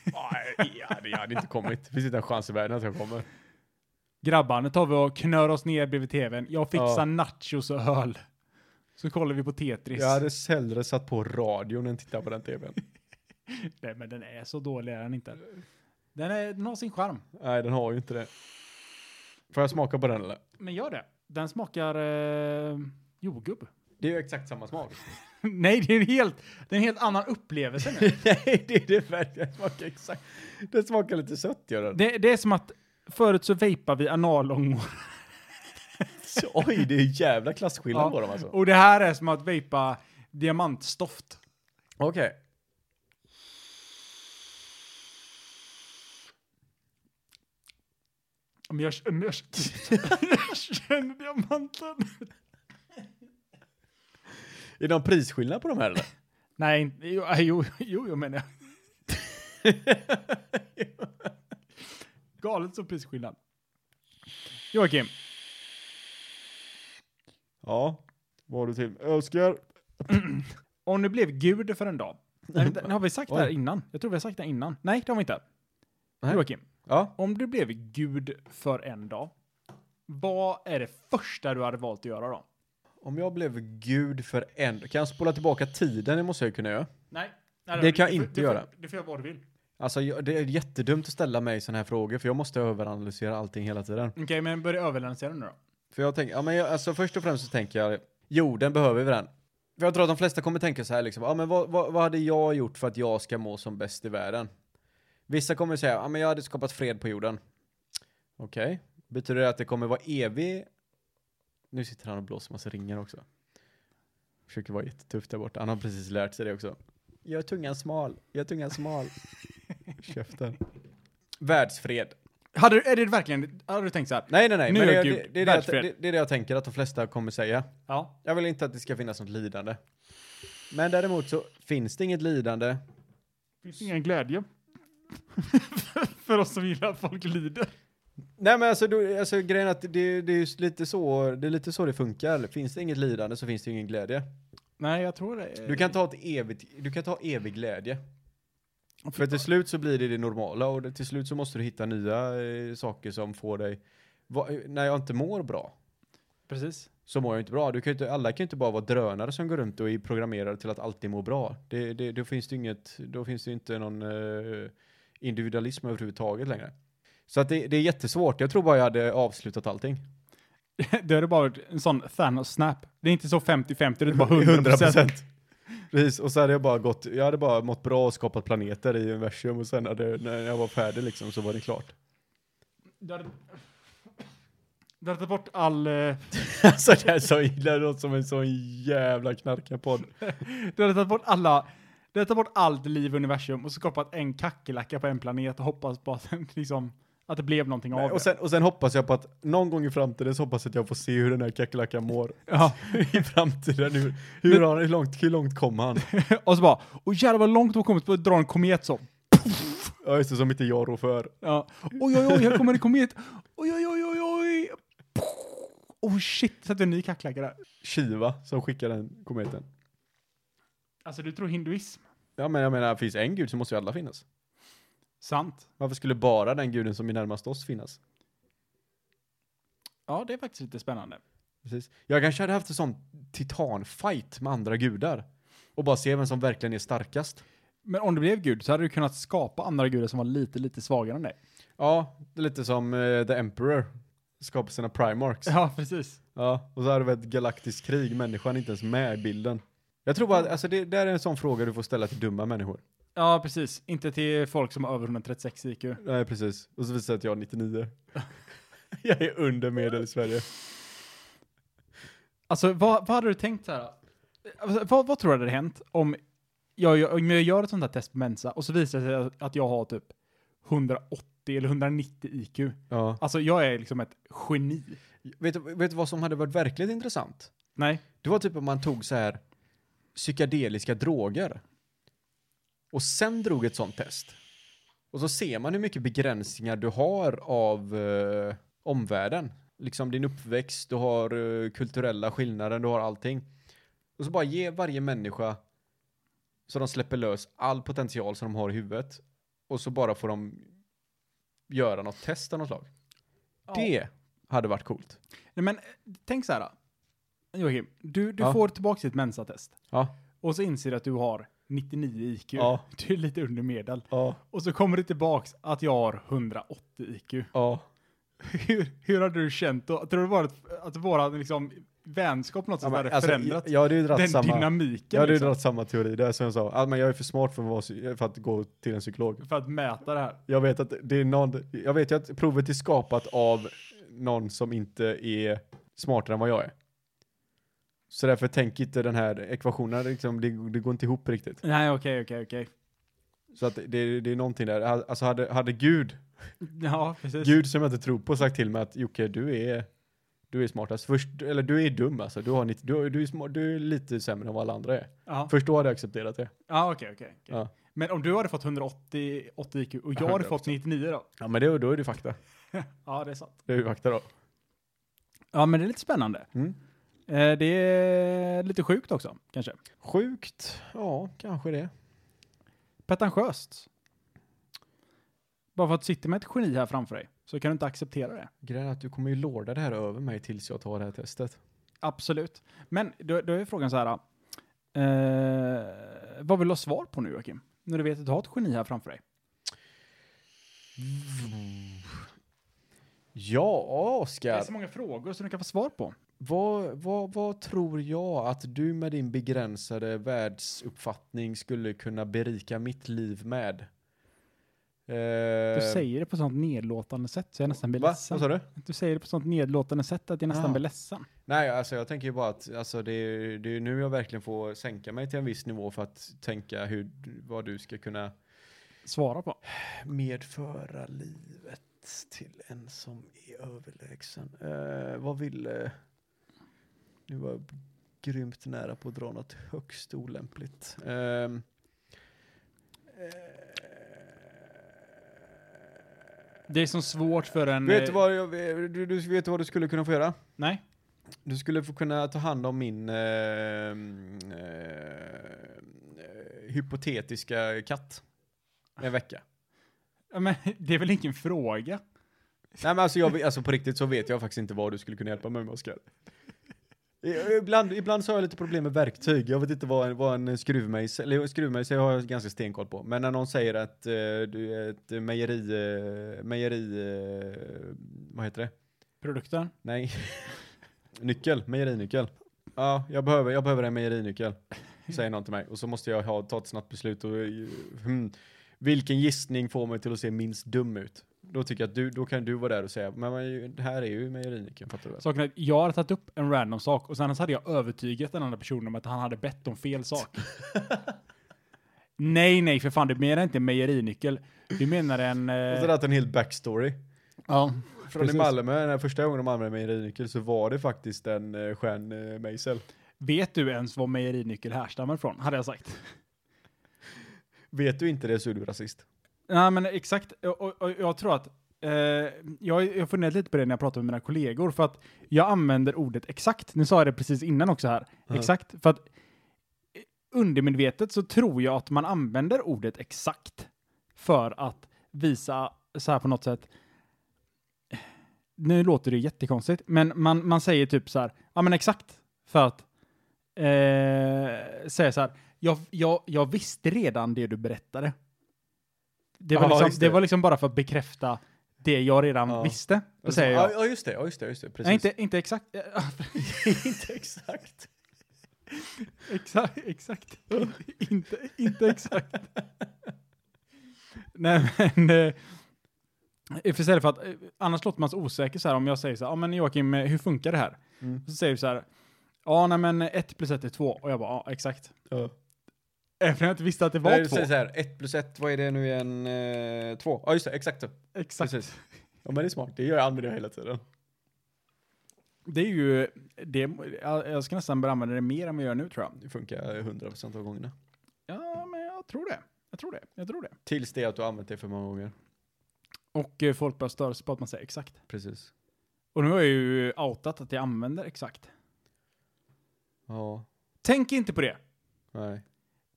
Nej, ja, det hade inte kommit. Det finns inte en chans i världen att jag kommer. Grabbar, nu tar vi och knör oss ner bredvid tvn. Jag fixar Ja. nachos och öl. Så kollar vi på Tetris. Jag hade hellre satt på radion än tittat på den tvn. Nej, men den är så dålig är den inte. Den, är, den har sin charm. Nej, den har ju inte det. Får jag smaka på den eller? Men gör det. Den smakar eh, jordgubb. Det är ju exakt samma smak. Nej, det är, en helt, det är en helt annan upplevelse nu. Nej, det är det verkligen. Den smakar exakt. Den smakar lite sött gör den. det, det är som att förut så vejpar vi analångor. Så, oj, det är jävla klasskillnad på dem alltså. Och det här är som att vejpa diamantstoft. Okej. Men jag, men jag, jag känner diamanten. Är det någon prisskillnad på de här eller? Nej, inte- jo, äh, jo, jo, jo menar jag. Galet så prisskillnad. Joakim, ja. Vad har du till? Öskar. om du blev gud för en dag. Nej, vänta, har vi sagt det här Oj. innan? Jag tror vi har sagt det innan. Nej, det har vi inte. Nej. Joakim, Ja. om du blev gud för en dag, vad är det första du hade valt att göra då? Om jag blev gud för en... Kan jag spola tillbaka tiden? Det måste jag kunna göra. Nej. Det kan jag inte göra. Det får jag vad du vill. Alltså, jag, det är jättedumt att ställa mig sådana här frågor för jag måste överanalysera allting hela tiden. Okej, men börja överlansera nu då. För jag tänker, ja men jag, alltså först och främst så tänker jag, jorden behöver vi den. För jag tror att de flesta kommer tänka så här liksom, ja men vad, vad, vad hade jag gjort för att jag ska må som bäst i världen? Vissa kommer säga, ja men jag hade skapat fred på jorden. Okej, betyder det att det kommer vara evig? Nu sitter han och blåser massa ringar också. Försöker vara jättetuff där borta, han har precis lärt sig det också. Gör tungan smal, gör tungan smal. Käften. Världsfred. Hade, du- är det verkligen, hade du tänkt så här? Nej nej nej, Nu men är det, Gud det, det, är det, jag, världsfred. det, det är det jag tänker att de flesta kommer säga. Ja. Jag vill inte att det ska finnas något lidande. Men däremot så finns det inget lidande. Finns ingen glädje. för oss som gillar att folk lider. Nej men alltså, då, alltså grejen är att det, det är just lite så det, är lite så det funkar. Finns det inget lidande så finns det ju ingen glädje. Nej, jag tror det. är- Du kan ta, ett evigt, du kan ta evig glädje. Åh, fy För fan. till slut så blir det det normala och det, till slut så måste du hitta nya eh, saker som får dig... Va, eh, när jag inte mår bra Precis. så mår jag inte bra. Du kan ju inte, alla kan ju inte bara vara drönare som går runt och är programmerade till att alltid må bra. Det, det, då finns det ju inget, då finns det ju inte någon eh, individualism överhuvudtaget längre. Så att det, det är jättesvårt. Jag tror bara jag hade avslutat allting. Då är det bara en sån Thanos-snap. Det är inte så 50-50, det är bara 100%. Precis, och så hade jag bara gått, jag hade bara mått bra och skapat planeter i universum och sen hade, när jag var färdig liksom så var det klart. Du hade, Du har tagit bort all, eh, Alltså det här så illa låter som en sån jävla knarkarpodd. du har tagit bort alla, du har tagit bort allt liv i universum och så skapat en kackerlacka på en planet och hoppas på att, den liksom, att det blev någonting av Och det. sen, och sen hoppas jag på att någon gång i framtiden så hoppas jag att jag får se hur den här kackerlackan mår. Ja. I framtiden, hur, hur, har, hur, långt, hur långt kom han? Och så bara, och jävlar vad långt du har kommit på att dra en komet så. Ja just det, som inte jag rår för. Ja. Oj, oj, oj, här kommer en komet. Oj, oj, oj, oj, oj. Oh shit, sätter en ny kackerlacka där. Shiva som skickar den kometen. Alltså du tror hinduism? Ja men jag menar, finns en gud så måste ju alla finnas. Sant. Varför skulle bara den guden som är närmast oss finnas? Ja, det är faktiskt lite spännande. Precis. Jag kanske hade haft en sån titanfight med andra gudar. Och bara se vem som verkligen är starkast. Men om du blev gud så hade du kunnat skapa andra gudar som var lite, lite svagare än dig. Ja, det är lite som eh, The Emperor skapar sina primarchs. Ja, precis. Ja, och så hade vi ett galaktiskt krig, människan är inte ens med i bilden. Jag tror bara, att- alltså det där är en sån fråga du får ställa till dumma människor. Ja, precis. Inte till folk som har över 136 IQ. Nej, precis. Och så visar det sig att jag har 99. jag är under medel i Sverige. Alltså, vad, vad hade du tänkt så här? Alltså, vad, vad tror du hade hänt om jag, jag, om jag gör ett sånt här test på Mensa och så visar det sig att- att jag har typ 180 eller 190 IQ? Ja. Alltså, jag är liksom ett geni. Vet, du- vet du vad som hade varit verkligt intressant? Nej. Det var typ om man tog så här psykedeliska droger. Och sen drog ett sånt test. Och så ser man hur mycket begränsningar du har av eh, omvärlden. Liksom din uppväxt, du har eh, kulturella skillnader, du har allting. Och så bara ge varje människa så de släpper lös all potential som de har i huvudet. Och så bara får de göra något test av något slag. Det hade varit coolt. Nej, men eh, tänk så här. Joakim, du, du Ja. får tillbaka ditt Mensa-test Ja. och så inser du att du har 99 IQ. Ja. Du är lite under medel. Ja. Och så kommer det tillbaks att jag har 180 IQ. Ja. Hur, hur hade du känt då? Tror du bara att, att våra liksom, vänskap på något sätt hade förändrats? alltså, Jag hade ju dragit Den samma, jag dynamiken hade ju liksom, dragit samma teori. Det är som jag sa, ah, men jag är för smart för att, vara, psy- för att gå till en psykolog. för att mäta det här. Jag vet att det är någon, jag vet ju att provet är skapat av någon som inte är smartare än vad jag är. Så därför tänk inte den här ekvationen, liksom, det, det går inte ihop riktigt. Nej, okej, okej, okej. Så att det, det är någonting där, alltså hade, hade Gud, Ja, precis. Gud som jag inte tror på sagt till mig att Jocke du är, du är smartast, Först, eller du är dum alltså, du, har, nitt- du, du, är smart, du är lite sämre än vad alla andra är. Ja, Först då hade jag accepterat det. ja okej, okej. okej. Ja. Men om du hade fått 180 80 IQ och jag 100%. hade fått 99 då? Ja men det, då är det fakta. Ja, det är sant. Det är ju fakta då. Ja, men det är lite spännande. Mm. Eh, det är lite sjukt också, kanske. Sjukt. Ja, kanske det. Pretentiöst. Bara för att du sitter med ett geni här framför dig så kan du inte acceptera det. Grejen är att du kommer ju lorda det här över mig tills jag tar det här testet. Absolut. Men då, då är frågan så här. Eh, vad vill du ha svar på nu, Joakim? När du vet att du har ett geni här framför dig. Ja, Det är Oskar. så många frågor som du kan få svar på. Vad, vad, vad tror jag att du med din begränsade världsuppfattning skulle kunna berika mitt liv med? Eh, Du säger det på sånt nedlåtande sätt så jag nästan blir Va? ledsen. Vad sa du? Du säger det på sånt nedlåtande sätt att jag nästan Ah. blir ledsen. Nej, alltså jag tänker ju bara att alltså, det, är, det är nu jag verkligen får sänka mig till en viss nivå för att tänka hur, vad du ska kunna Svara på. medföra livet till en som är överlägsen. Eh, vad ville... Nu var jag grymt nära på att dra något högst olämpligt. Ehm, Det är så svårt för en... vet, du eh, vad jag, du, du vet du vad du skulle kunna få göra? Nej. Du skulle få kunna ta hand om min eh, eh, hypotetiska katt. En vecka. Ja, Men det är väl ingen fråga? Nej men alltså, jag, alltså på riktigt så vet jag faktiskt inte vad du skulle kunna hjälpa mig med Oskar. I- Ibland, ibland så har jag lite problem med verktyg. Jag vet inte vad en, vad en skruvmejsel, eller skruvmejsel har jag ganska stenkoll på. Men när någon säger att eh, du är ett mejeri, eh, mejeri, eh, vad heter det? Produkten? Nej. Nyckel, mejerinyckel. Ja, jag behöver, jag behöver en mejerinyckel. Säger någon till mig. Och så måste jag ha, ta ett snabbt beslut och... eh, Hmm, vilken gissning får mig till att se minst dum ut? Då tycker jag att du, då kan du vara där och säga, men man, det här är ju mejerinyckeln, fattar du väl? Saken är att jag hade tagit upp en random sak och sen så hade jag övertygat den andra personen om att han hade bett om fel sak. nej, nej, för fan, du menar inte mejerinyckel. Du menar en... Eh, Och så hade en hel backstory. ja, Från precis. i Malmö, den här första gången de använde mejerinyckel så var det faktiskt en eh, Stjärn eh, Meisel. Vet du ens vad mejerinyckel härstammar från? Hade jag sagt. Vet du inte det så är du rasist. Nej, men exakt. Och, och, och jag tror att eh, jag jag funderat lite på det när jag pratade med mina kollegor, för att jag använder ordet exakt. Nu sa jag det precis innan också här. Ja. Exakt. För att eh, undermedvetet så tror jag att man använder ordet exakt för att visa så här på något sätt. Nu låter det jättekonstigt, men man, man säger typ så här, ja men exakt, för att eh, säga så här, jag, jag, jag visste redan det du berättade. Det var, Ja, liksom, just det. det var liksom bara för att bekräfta det jag redan Ja. visste. Då säger jag. Ja, Ja, just det, ja, just det, just det. Precis. Nej, inte, inte exakt. eh, inte exakt. Exakt, exakt. Inte- inte, inte exakt. Nej, men... Eh, för istället för att, eh, annars låter man så osäker så här om jag säger så här, ja men Joakim, eh, hur funkar det här? Mm. Så säger du så här, ja nej men ett plus ett är två och jag bara, ja exakt. Ja. Även om jag inte visste att det var Nej, du två. säger så här, ett plus ett, vad är det nu igen? Eh, två. Ja, just det, exakt så. Exakt. Precis. Ja, men det är smart. Det gör jag använder jag hela tiden. Det är ju, det, jag jag ska nästan börja använda det mer än vad jag gör nu tror jag. Det funkar 100% av gångerna. Ja, men jag tror det. Jag tror det. Jag tror det. Tills det att du har använt det för många gånger. Och eh, folk börjar störa sig på att man säger exakt. Precis. Och nu har jag ju outat att jag använder exakt. Ja, Tänk inte på det. nej,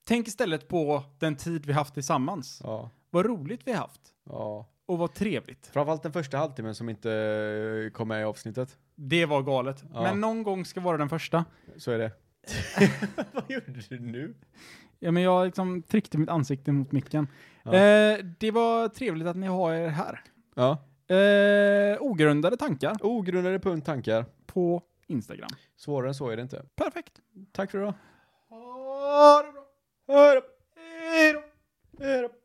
Tänk istället på den tid vi haft tillsammans. ja, Vad roligt vi haft. ja. Och vad trevligt. Framförallt den första halvtimmen som inte eh, kom med i avsnittet. Det var galet. Ja. Men någon gång ska vara den första. Så är det. Vad gjorde du nu? Ja, men jag liksom tryckte mitt ansikte mot micken. Ja. Eh, det var trevligt att ni har er här. Ja. Eh, ogrundade tankar Ogrundade punkt tankar. på Instagram. Svårare än så är det inte. Perfekt. Tack för idag. Ha det